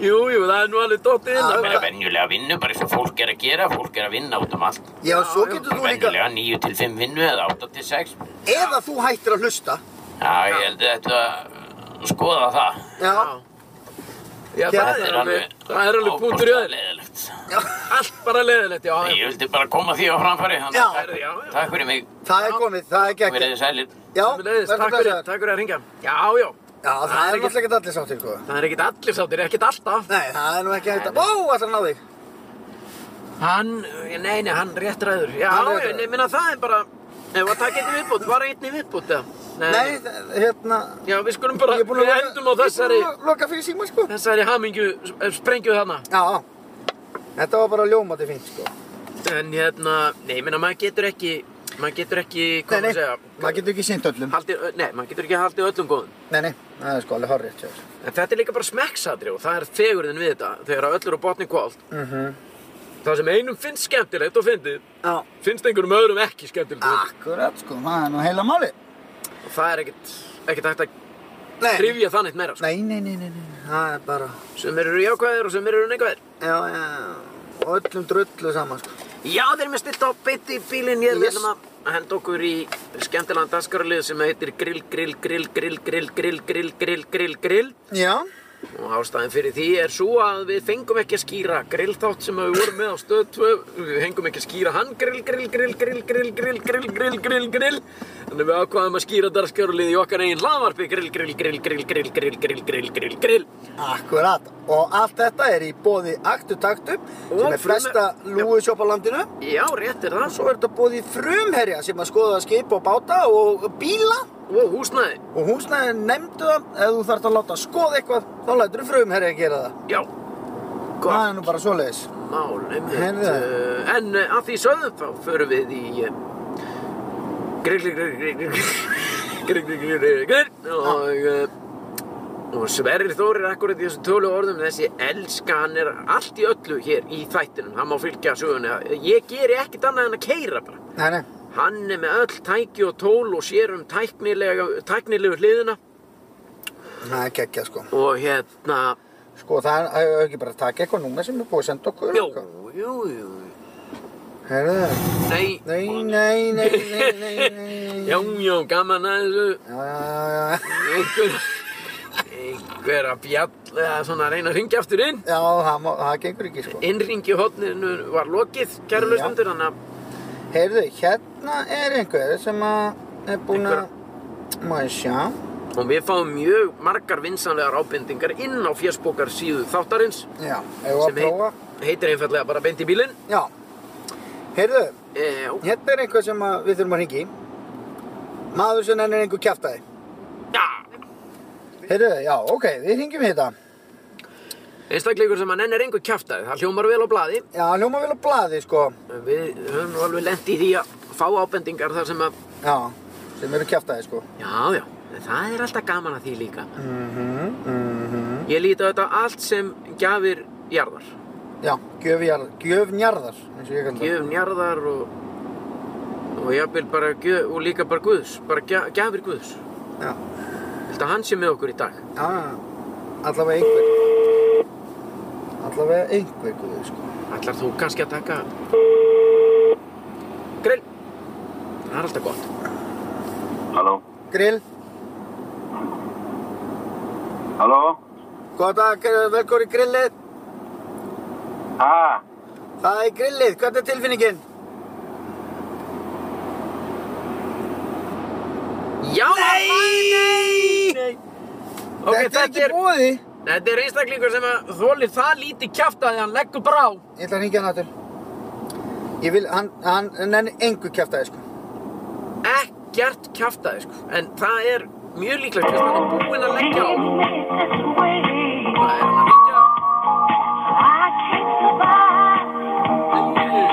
Jú, jú, það er nú alveg dottið inn. Já, að Bara maður- venjulega vinnu, bara eins og fólk er að gera, fólk er að vinna út um allt. Já, svo já. getur þú líka, Venjulega 9 til 5 vinnu eða 8 til 6. eða þú hættir að hlusta. Já, ég held að þetta að skoða það. Já, Já. Já, Já, það er alveg, það er alveg punktur í öðru. leðilegt. Allt bara leiðilegt, já. Ég vildi bara koma því á framfæri, þannig Já. að takk- Já, já. takk fyrir mig, það er komið, það er verið geggjað. þið sælir. Já, Sömuleiðis, verður takk fyrir, blessaður. takk fyrir að ringa. Já, já, Já, það Það er er ekki- náttúrulega ekki allir sáttir, sko. það er ekkert allir sáttir, ekkert alltaf. Nei, það er nú ekki hægt að... Ó, ætlar að ná þig. Hann, nei, nei, hann rétt ræður. Já, Hann rétt já, ræður. nei, minna það er bara, ef að taka einn í viðbútt, var einn í viðbútt, eða? Nei, það- hérna... Já, við skulum bara, Ég er búinn að við loka- endum á ég er þessari, búinn að Loka fyrir síma, sko. þessari hamingju, eh, sprengju þarna. Já, þetta var bara ljómandi fínt, sko. En hérna, nei, minna, maður getur ekki, maður getur ekki, hvað Nei, maður segja, nei, maður getur ekki sýnt öllum. haldið, nei, maður getur ekki haldið öllum góðum. Nei, nei, það er sko alveg horrið, tjóður. En þetta er líka bara smekksadri og það er fegurðin við þetta þegar öll eru á botni kvöld. Mhm. Það sem einum finnst skemmtilegt og fyndið, Já. finnst einhverjum öðrum ekki skemmtilegt. og fyndið. Akkurat, sko, það er nú heila máli. Og það er ekkert, ekkert hægt að Nei, krifja þannig meira. Sko. nei, nei, nei, nei, nei, það er bara... Sem eru jákvæðir og sem eru neikvæðir. Já, já, og öllum drullu saman, sko. Já, þeir eru með stilt á beitt í bílinn hér. Yes. Við ætlum að henda okkur í skemmtilegan dagskaralið sem heitir grill, grill, grill, grill, grill, grill, grill, grill, grill, grill. Já, Og ástæðin fyrir því er svo að við fengum ekki að skýra grillþátt sem við vorum með á stöð 2 Við fengum ekki að skýra hann grill, grill, grill, grill, grill, grill, grill, grill, grill, grill Þannig við ákvaðum að skýra darskjörlið í okkar eigin hlaðvarpi Grill, grill, grill, grill, grill, grill, grill, grill, grill, grill akkurat. Og allt þetta er í bóði Aktu Taktum, sem Og er flesta lúgusjóp á landinu. Já, rétt er það Svo er þetta bóði Frumherja, sem að skoða skip og báta og bíla. Og húsnæði Og húsnæðin nefndu það, ef þú þarft að láta skoða eitthvað, þá lætur frumherja að gera það. Já Það Gott er nú bara svoleiðis. mál, einmitt Heyrðu. Eh, En eh, að því sögðum þá förum við í eh, grill, grill, grill, grill, grill, grill, grill, grill, grill Ah. og, eh, og Sverrir Þórir akkurat í þessum tölu orðum þessi elska hann er allt í öllu hér í þættinum, hann má fylgja sögunni ég geri ekkert annað en að keyra bara Nei, nei. hann er með öll tæki og tól og sér um tæknilega, tæknilegu hliðina Það er geggja sko. og hérna Sko það er- það er ekki bara að taka eitthvað núna sem er búið að senda okkur. jú, jú, jú Herðu, nei, nei, nei, nei, nei, nei, nei. já, já, gaman að þessu Já, já, já. einhver einhver að bjall eða svona að reyna að ringja aftur inn Já, það, má, það gengur ekki sko. innringi hodninu var lokið Já. kæru lausundur þannig að Herðu, hérna er einhver sem að er búinn að... Má ég sjá? og við fáum mjög margar vinsanlegar ábendingar inn á fjöspókar síðu þáttarins Já, hefur að sem prófa. heitir einfallega bara beint í bílinn Já. Herðu, e, og, hérna er einhver sem að við þurfum að hringi. Maður sem ennir einhver kjaftaði. ja, Heyrðu, já, ok, við hringjum í þetta. einstakleikur sem að nenn er einhver kjaftaði það hljómar vel á blaði Já, hljóma vel á blaði, sko. við höfum nú alveg lent í því að fá ábendingar þar sem að Já, sem eru kjaftaði, sko. já já, það er alltaf gaman að því líka Mhm, mhm. Ég líti á þetta allt sem gjafir jarðar. Já, gjöfjarðar, gjöfnjarðar, eins og ég kallar það. Gjöfn jarðar og, og jafnvel bara gjöf, og líka bara Guðs, bara gja- gjafir Guðs. Já, Ég held að hann sé með okkur í dag. já, já, allavega einhver. Allavega einhver guði, sko. Ætlar þú kannski að taka... Grill! Það er alltaf gott. Halló, Grill, halló, góðan dag, velkomin í grillið. ha, Það er grillið, hvernig er tilfinningin? Já! Nei! þetta Ok, er þetta ekki er, bóði. þetta er einstaklingur sem að þólir það lítið kjafta að hann leggur bara á. Ég ætla að hringja hann aftur. Ég vil, hann, hann, hann nenni engu kjæftæði, sko. Ekkert kjaftaði, sko. En það er mjög líklegt hvort hann er búinn að leggja á. Það er hann að leggja á.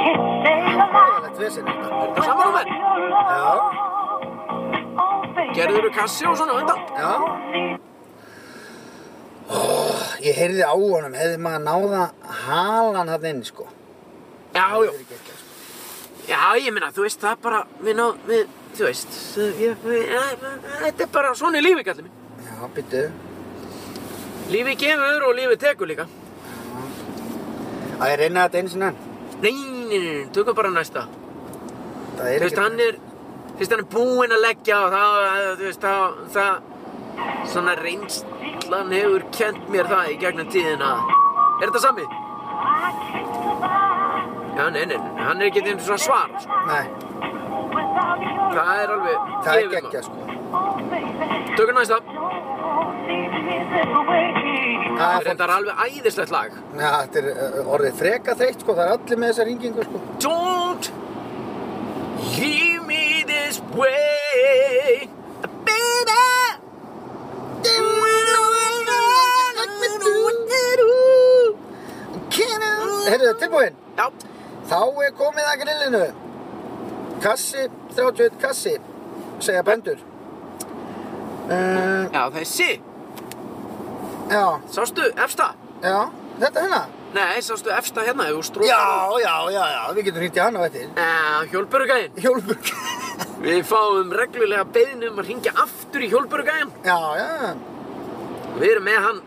Ógæðilegt vesen þetta. Er þetta saman á menn? Gerður þú kassi og svona á undan? Já. Ó, ég heyrði á honum, hefði maður náða halan hann inn, sko. Já, já. Já, ég meina, þú veist, það er bara, við ná, við, þú veist, það- ég, ég, ég, þetta er bara svona í lífi, kallið minn. Já, byttu. Lífi gefur og lífi tekur líka. Að ég reyna þetta einu sinni enn. Nei, nei, nei, nei, tökum bara næsta. Það Þú er veist, hann er, þú veist, hann er búinn að leggja og það, þú veist, það, það, svona reynslan hefur kent mér það í gegnum tíðina. Er þetta sami? Já, nei, nei, nei, hann er ekki einu svona svar, sko. Nei, Það er alveg það er gefið, maður. geggja, sko. Tökum næsta Það Það er er reyndar alveg æðislegt lag Já, þetta er uh, orðið freka þreytt, sko. Það er allir með þessa ringingu, sko. Don't leave me this way Baby Heyrðu, tilbúinn. Já, Þá er komið að grillinu. Kassi, 31 kassi, segja bændur. Uh, já þessi já, Sástu efsta? já, þetta hérna. Nei, sástu efsta hérna ef þú strókar Já, já, já, já, við getum hringt í hann á eftir. Já, Hjólburgæin Hjólburg. Við fáum reglulega beiðni um að hringja aftur í Hjólburgæin já, já, Við erum með hann,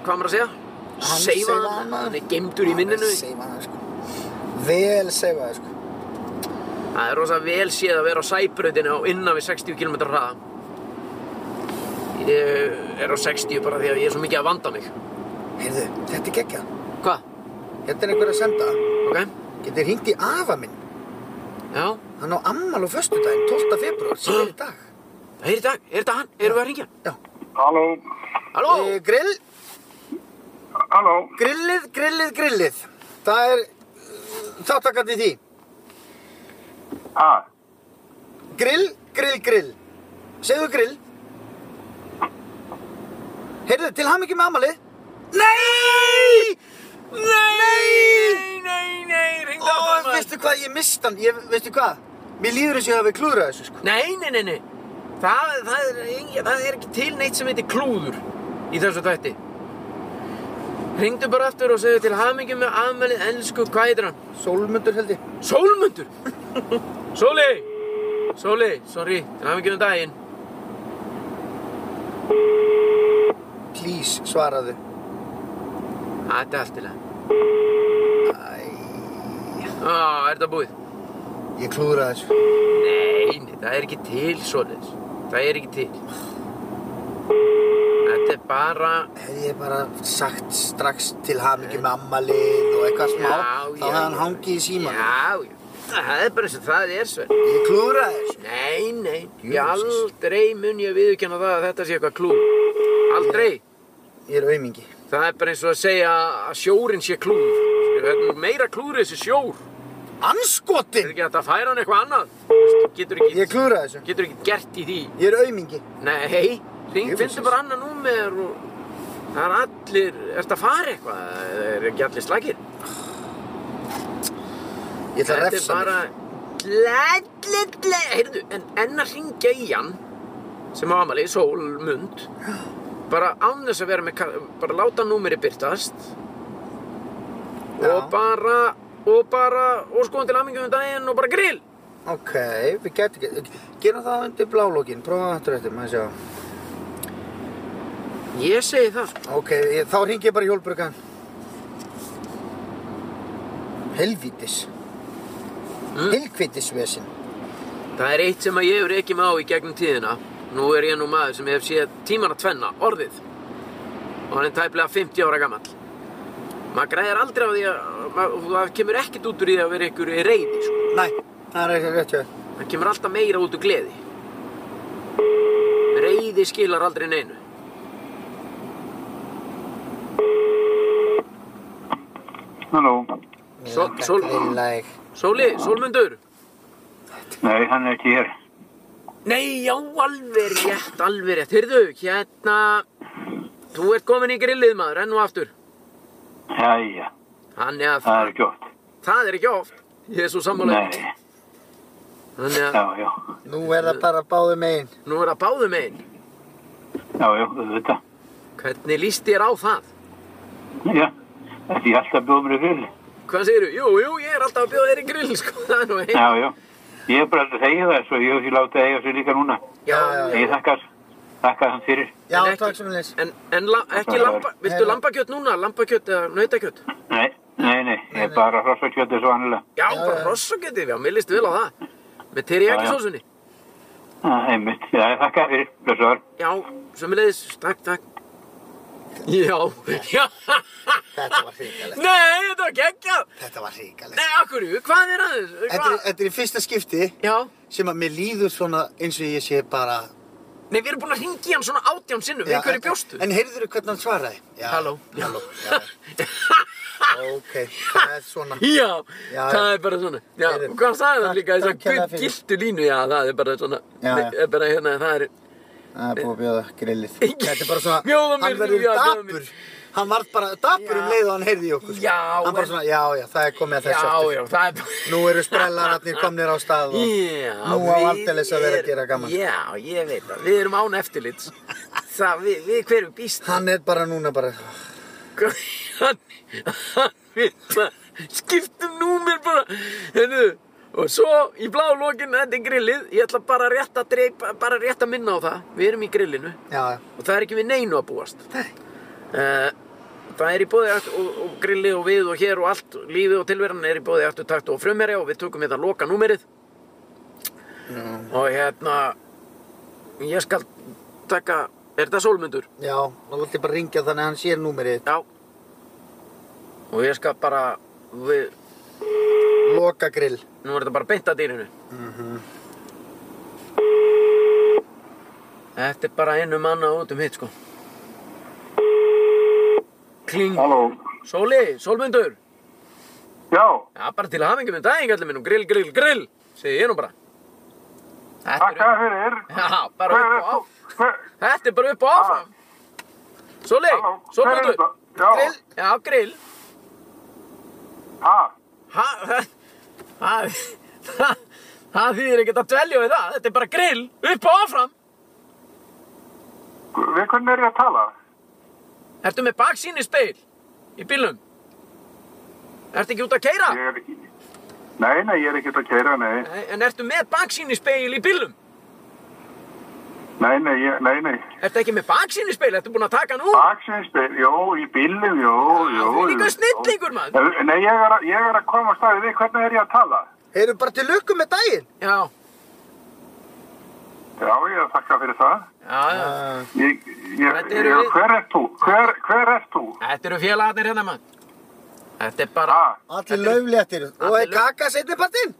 hvað maður að segja? Hann Seifa seifaði hann, hann, maður. hann er geimdur í minninu Seifa það, sko. Vel seifa það, sko. Það er rosa vel séð að vera á sæbrautinu á innan við 60 km hraða. Ég er á 60 bara því að ég er svo mikið að vanda mig. Heyrðu, þetta er geggjað. Hvað? Þetta er einhver að senda. Ok? Getur hringt í afa minn. Já. Hann á ammal á föstudaginn, 12. februar, sem er í dag. Það er í dag. Er þetta hann? Erum við að ringja? Já. halló, Halló? Eh, grill, halló, grillið, grillið, grillið. Það er eh, þáttakandi í því. ha, Grill, grill, grill. Segðu grill. Heyrðu, til ham ekki með amalið. Nei! Nei! Nei, nei, nei, ringdu Ó, aftur maður. veistu hvað, ég mist hann. Ég, veistu hvað? Mér líður eins og ég hafi klúðrað þessu, sko. Nei, nei, nei, nei. Það, það, er, engin- það er ekki til neitt sem heitir klúður í þessu þætti. Ringdu bara aftur og segðu til hamingjum með afmælið elsku, hvað heitir hann? Sólmundur held ég. Sólmundur! Sóli! Sóli, sorry, til hafa ekki um daginn. Please, svaraðu. Æ, Þetta er allt í lagi. Æ, Á, er þetta búið? ég klúðraði þessu. Nei, nei, það er ekki til svoleiðis. Það er ekki til. Þetta er bara... Hefði ég bara sagt strax til ham ekki með amalið og eitthvað smá, þá hefði hann hangið í síman. Já, já. Það er bara eins og það er sver. Ég klúðraði þessu. Nei, nei. Jú, Ég aldrei mun ég viðurkenna það að þetta sé eitthvað klúð. Aldrei. Ég er aumingi. Það er bara eins og að segja að sjórin sé klúð. Þetta er meira klúður þessi sjór. Er Anskotin! ekki hægt að færa hann eitthvað annað? Þú Getur ekki... Ég klúðraði þessu. Getur ekki gert í því. Ég er aumingi. Nei, ring, Jú, finnstu vissis. bara annað númer og það er allir, ertu að fara eitthvað, það er ekki allir slagir. Ég ætla að refsa Þetta er bara, gledli, gledli, heyrðu, en enn að ringja í hann, sem á amali, Sólmund, bara án þess að vera með ka- bara láta númeri byrtast Já. og bara og bara, og skoðum til aðmyggju um daginn og bara grill Ok, við getum ekki... Gerum það undir blálókin, prófum það aftur eftir, maður sjá. ég segi það sko. Ok, ég, þá ringi ég bara í hjólbrukan. Helvítis. Hm? Mm. Helvítisvesin. það er eitt sem að ég hefur ekki með á í gegnum tíðina nú er ég nú maður sem hef séð tímana tvenna, orðið og hann er tæplega 50 ára gamall maður græðir aldrei á því að maður, það kemur ekkert út úr því að vera ykkur í reyði sko. Næ, það er ekki rétt hjá. þér. Það kemur alltaf meira út úr gleði. Reyði skilar aldrei neinu. Halló. Mér Sól- langar sól- til þig. Sóli, Sólmundur? Nei, hann er ekki hér. Nei, já, alveg rétt, alveg rétt. Hyrðu, hérna, þú ert komin í grillið maður, enn og aftur. Jæja, Þannig að það er ekki oft. það er ekki oft. Ég er svo sammálaður. Nei, Þannig að já, já, Nú er það bara báðu megin. nú er það báðum einn. já, já, þetta. Hvernig líst þér á það? Já, þetta er ég alltaf að bjóða mér í grill. Hvað segirðu? Jú, jú, ég er alltaf að bjóða þér í grill, sko. Það er nú einn. Já, já. Ég er bara alltaf að segja það, svo ég hef því látið að eiga sér líka núna. Já, já. Ég þakkar, þakkar hann fyrir. Já, En ekki- takk sem leys. En, en la, ekki lampa, viltu Nei, nei. lambakjött núna? Lambakjött eða nautakjött? Nei, nei, nei, ég er bara hrossakjötið svo annilega. Já, Já, bara já. hrossakjötið, já, mér líst vel á það. Með teriyaki Já, já. sósunni. Það er mitt. Já, ég þakka fyrir. Blessaður. Já, sömulegis, takk, takk. Já, já, Þetta var hrikalegt. nei, þetta var geggjað. Þetta var hrikalegt. Nei, akkur, hvað er aðeins? Þetta er, þetta er í fyrsta skipti Já, sem að mér líður svona eins og ég sé bara... nei, við erum búin að ringi hann svona átján sinnum, við hverju en- bjóstu? En heyrður þú hvernig hann svaraði? Já. Halló. Halló. Já. ok, það er svona. Já, Já, það já. er bara svona. Já, Heyrðu, og hvað sagði takk- hann líka, takk kærlega þess að fyrir. gildu línu, já, það er bara svona, Já, já. er bara hérna, það er, Það er búið að bjóða grillið. Þetta er bara svona, Bjóða mér, hann verður já, bjóða mér. dapur. Hann varð bara dapur um leið og hann heyrði í okkur. Já, Hann bara en- svona, já, já, það er komið að já, þessu aftur. já, það er bara. Nú eru sprellararnir komnir á stað og... Já, Nú á við aldeilis að vera að er- gera gaman. sko. Já, ég veit það, við erum án eftirlits Það, við, við hverjum býst Hann er bara núna bara... Hann, hann við bara skiptum númer bara Hefðu, og svo í blá lokin, þetta er grillið Ég ætla bara rétt að dreipa, bara rétt að minna á það Við erum í grillinu Já, já. og það er ekki við neinu að búast Eh, Það er í bóði akt og, og grilli og við og hér og allt lífið og tilveran er í bóði aftur takt og frumherja og við tökum þetta loka númerið og hérna ég skal taka er þetta sólmundur? Já, nú ætti ég bara að ringja þannig að hann sér númerið. Já og ég skal bara við, Loka grill. nú er þetta bara beint að dýrinu Þetta er bara einu manna út um hitt sko Kling Halló. Sóli, sólmundur Já, Já, bara til hafingum um daginn, allir minn, og grill, grill, grill, segi ég nú bara. Þetta er, þakka fyrir. já, bara upp og áfram. Hver er þú? Hver- Þetta er bara upp og áfram. Sóli, Halló. Hver er Sólmundur, þetta? Já. grill, já, grill. Ha, Ha, það, það, það, það þýðir ekkert að dvelja við það, þetta er bara grill, upp og áfram. við hvernig er ég að tala? Ertu með baksýni speil í bílnum? Ertu ekki út að keira? Ég er ekki... Nei, nei, ég er ekkert að keira, nei. Nei, en ertu með baksýni speil í bílnum? Nei, nei, ég, nei, nei. Ertu ekki með baksýni speil, ertu búin að taka hann úr? Baksinsbyr, jó, í bílum, jó, Já, jó. þú er líka jó. snillingur, maður. Nei, Nei, ég er, að- ég er að koma á staðið við, hvernig er ég að tala? Eru bara til lukku með daginn? Já, Já, ég er að þakka fyrir það. já, já. Ah, Ég, ég, Þetta eru ég, við. hver ert þú? Hver, hver ert þú? Þetta eru félagarnir hérna maður Þetta er bara Ha, Allir laufléttir. Og er löf- kaka setnipartinn?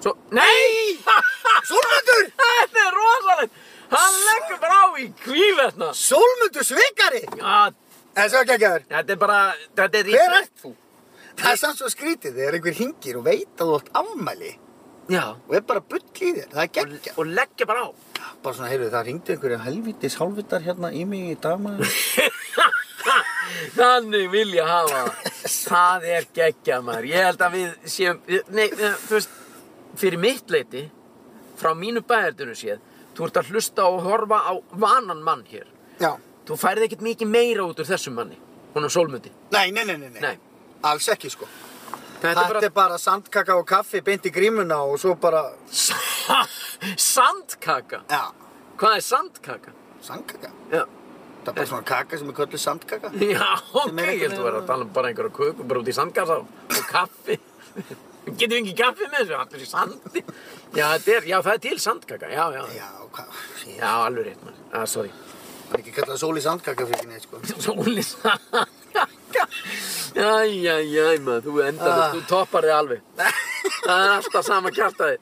Svo... Nei! Sólmundur! Þetta er rosalegt Hann leggur bara á í kvíf hérna Sólmundur svikari! Já, En svo geggjaður. Þetta er bara Þetta er Hver ert þú? Það er samt svo skrítið þegar einhver hingir og veit að þú átt afmæli Já og er bara bull í þér. Það er geggjað. Og leggja bara á Bara svona, heyrðu, það ringdi einhverju helvitis hálfvitar hérna í mig í dagmaður. Þannig vil ég hafa það Það er geggja maður Ég held að við séum Nei, eh, þú veist Fyrir mitt leiti Frá mínu bæjartunum séð Þú ert að hlusta og horfa á vanan mann hér. Já. Þú færði ekkert mikið meira út úr þessum manni, honum sólmundi. Nei, nei, nei, nei, nei. Nei. Alls ekki, sko. Þetta Þetta er bara sandkaka og kaffi beint í grímuna og svo bara... bara... sandkaka? Já, Hvað er sandkaka? sandkaka. Já, Það er bara svona kaka sem er kölluð sandkaka. Já ok, er einhvern ég held að vera að tala um bara einhverja köku bara út í sandkassa og- og kaffi. Getum við ekki kaffi með þessu, hann er í sandi. Já, þetta er, já, það er til sandkaka, já, já. Já, hvað? Ég Já, alveg rétt, mann. Ah, sorry. er ekki kallað sól í sandkaka fyrir ekki neitt, sko. Sóli sandkaka. Æj, æj, æj, maður, þú endar, Ah. þú toppar þig alveg. Það er alltaf sama kjartaði.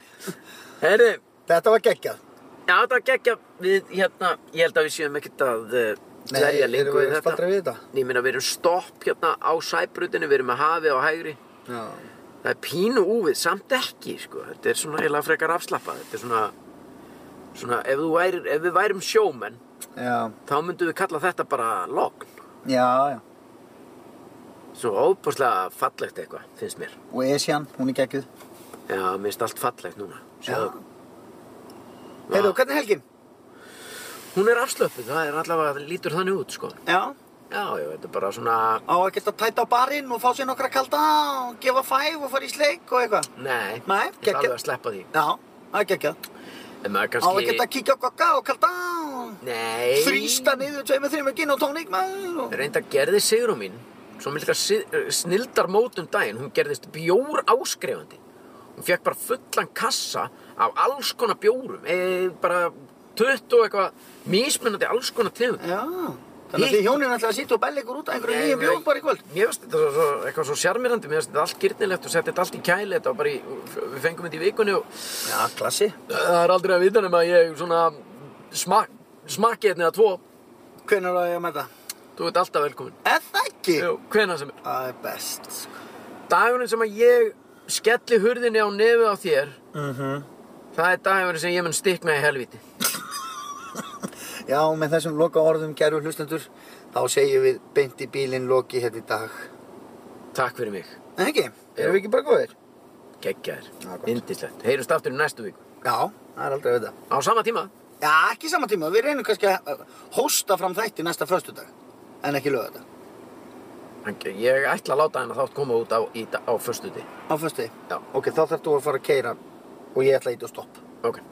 Herri, Þetta var geggjað. já, þetta var geggja við, hérna, ég held að við séum ekkert að uh, verja lengur við þetta. Spaldra við þetta. Ég meina, við erum stopp hérna á sæbrutinu, við erum með hafi á hægri. Já. Það er pínu úfið, samt ekki, sko. Þetta er svona eiginlega frekar afslappað. Þetta er svona, svona, ef, þú værir, ef við værum sjómenn, Já, þá myndum við kalla þetta bara logn. já, já. Svona óbúslega fallegt eitthvað, finnst mér. Og Esjan, hún er geggjuð. Já, mér finnst allt fallegt núna. Sjáðu. Heyrðu, hvernig er helgin? Hún er afslöppuð, það er allavega, lítur þannig út, sko. Já. Já, já, þetta er bara svona, Á ekkert að tæta á barinn og fá sér nokkra kalda og gefa fæf og fara í sleik og eitthvað. nei, Nei, ég er alveg geggjað. að sleppa því. Já, það er geggjað. En maður Á kannski... ekkert að kíkja á kokka og kalda og Nei. þrýsta niður tveimur þreimur gin og tóník maður. og- Reynda gerði Sigrún mín svo mikla si- eh, snildarmót um daginn hún gerðist bjór áskrefandi hún fekk bara fullan kassa af alls konar bjórum e, bara 20 og eitthvað mismunandi alls konar tegund Já, þannig að Hitt- þið hjónin ætlaði að sitja og bella ykkur út að einhverju nýjum bjóð bara í kvöld. Eh, Mér finnst þetta svo, eitthvað svo sjarmirandi mér finnst þetta allt gyrnilegt og setti þetta allt í kæli þetta var bara í, við fengum þetta í vikunni og Já, klassi. það er aldrei að vita nema að ég svona smak, smakki hérna eða tvo Hvenær á ég að mæta? þú ert alltaf velkomin Er það ekki? Jú, hvena sem er Það er best. sko. Dagurinn sem að ég skelli hurðinni á nefu á þér Mhm. Það er dagurinn sem ég mun stikna í helviti Já, með þessum loka orðum, kæru hlustendur, þá segjum við beint í bílinn loki hérna í dag. Takk fyrir mig, En ekki, erum við ekki bara góðir? geggjaðir, Já, gott. indislegt Heyrumst aftur í næstu viku Já, það er aldrei að vita. Á sama tíma Já, ekki saman tíma. Við reynum kannski að uh, hósta fram þætti næsta föstudag. En ekki löga þetta. Hann- Ég ætla að láta hennar þátt koma út á, í, dag- á föstuði Á föstudegi? Já. Ok, þá þarf þú að fara að keira og ég ætla að íta og stopp. Ok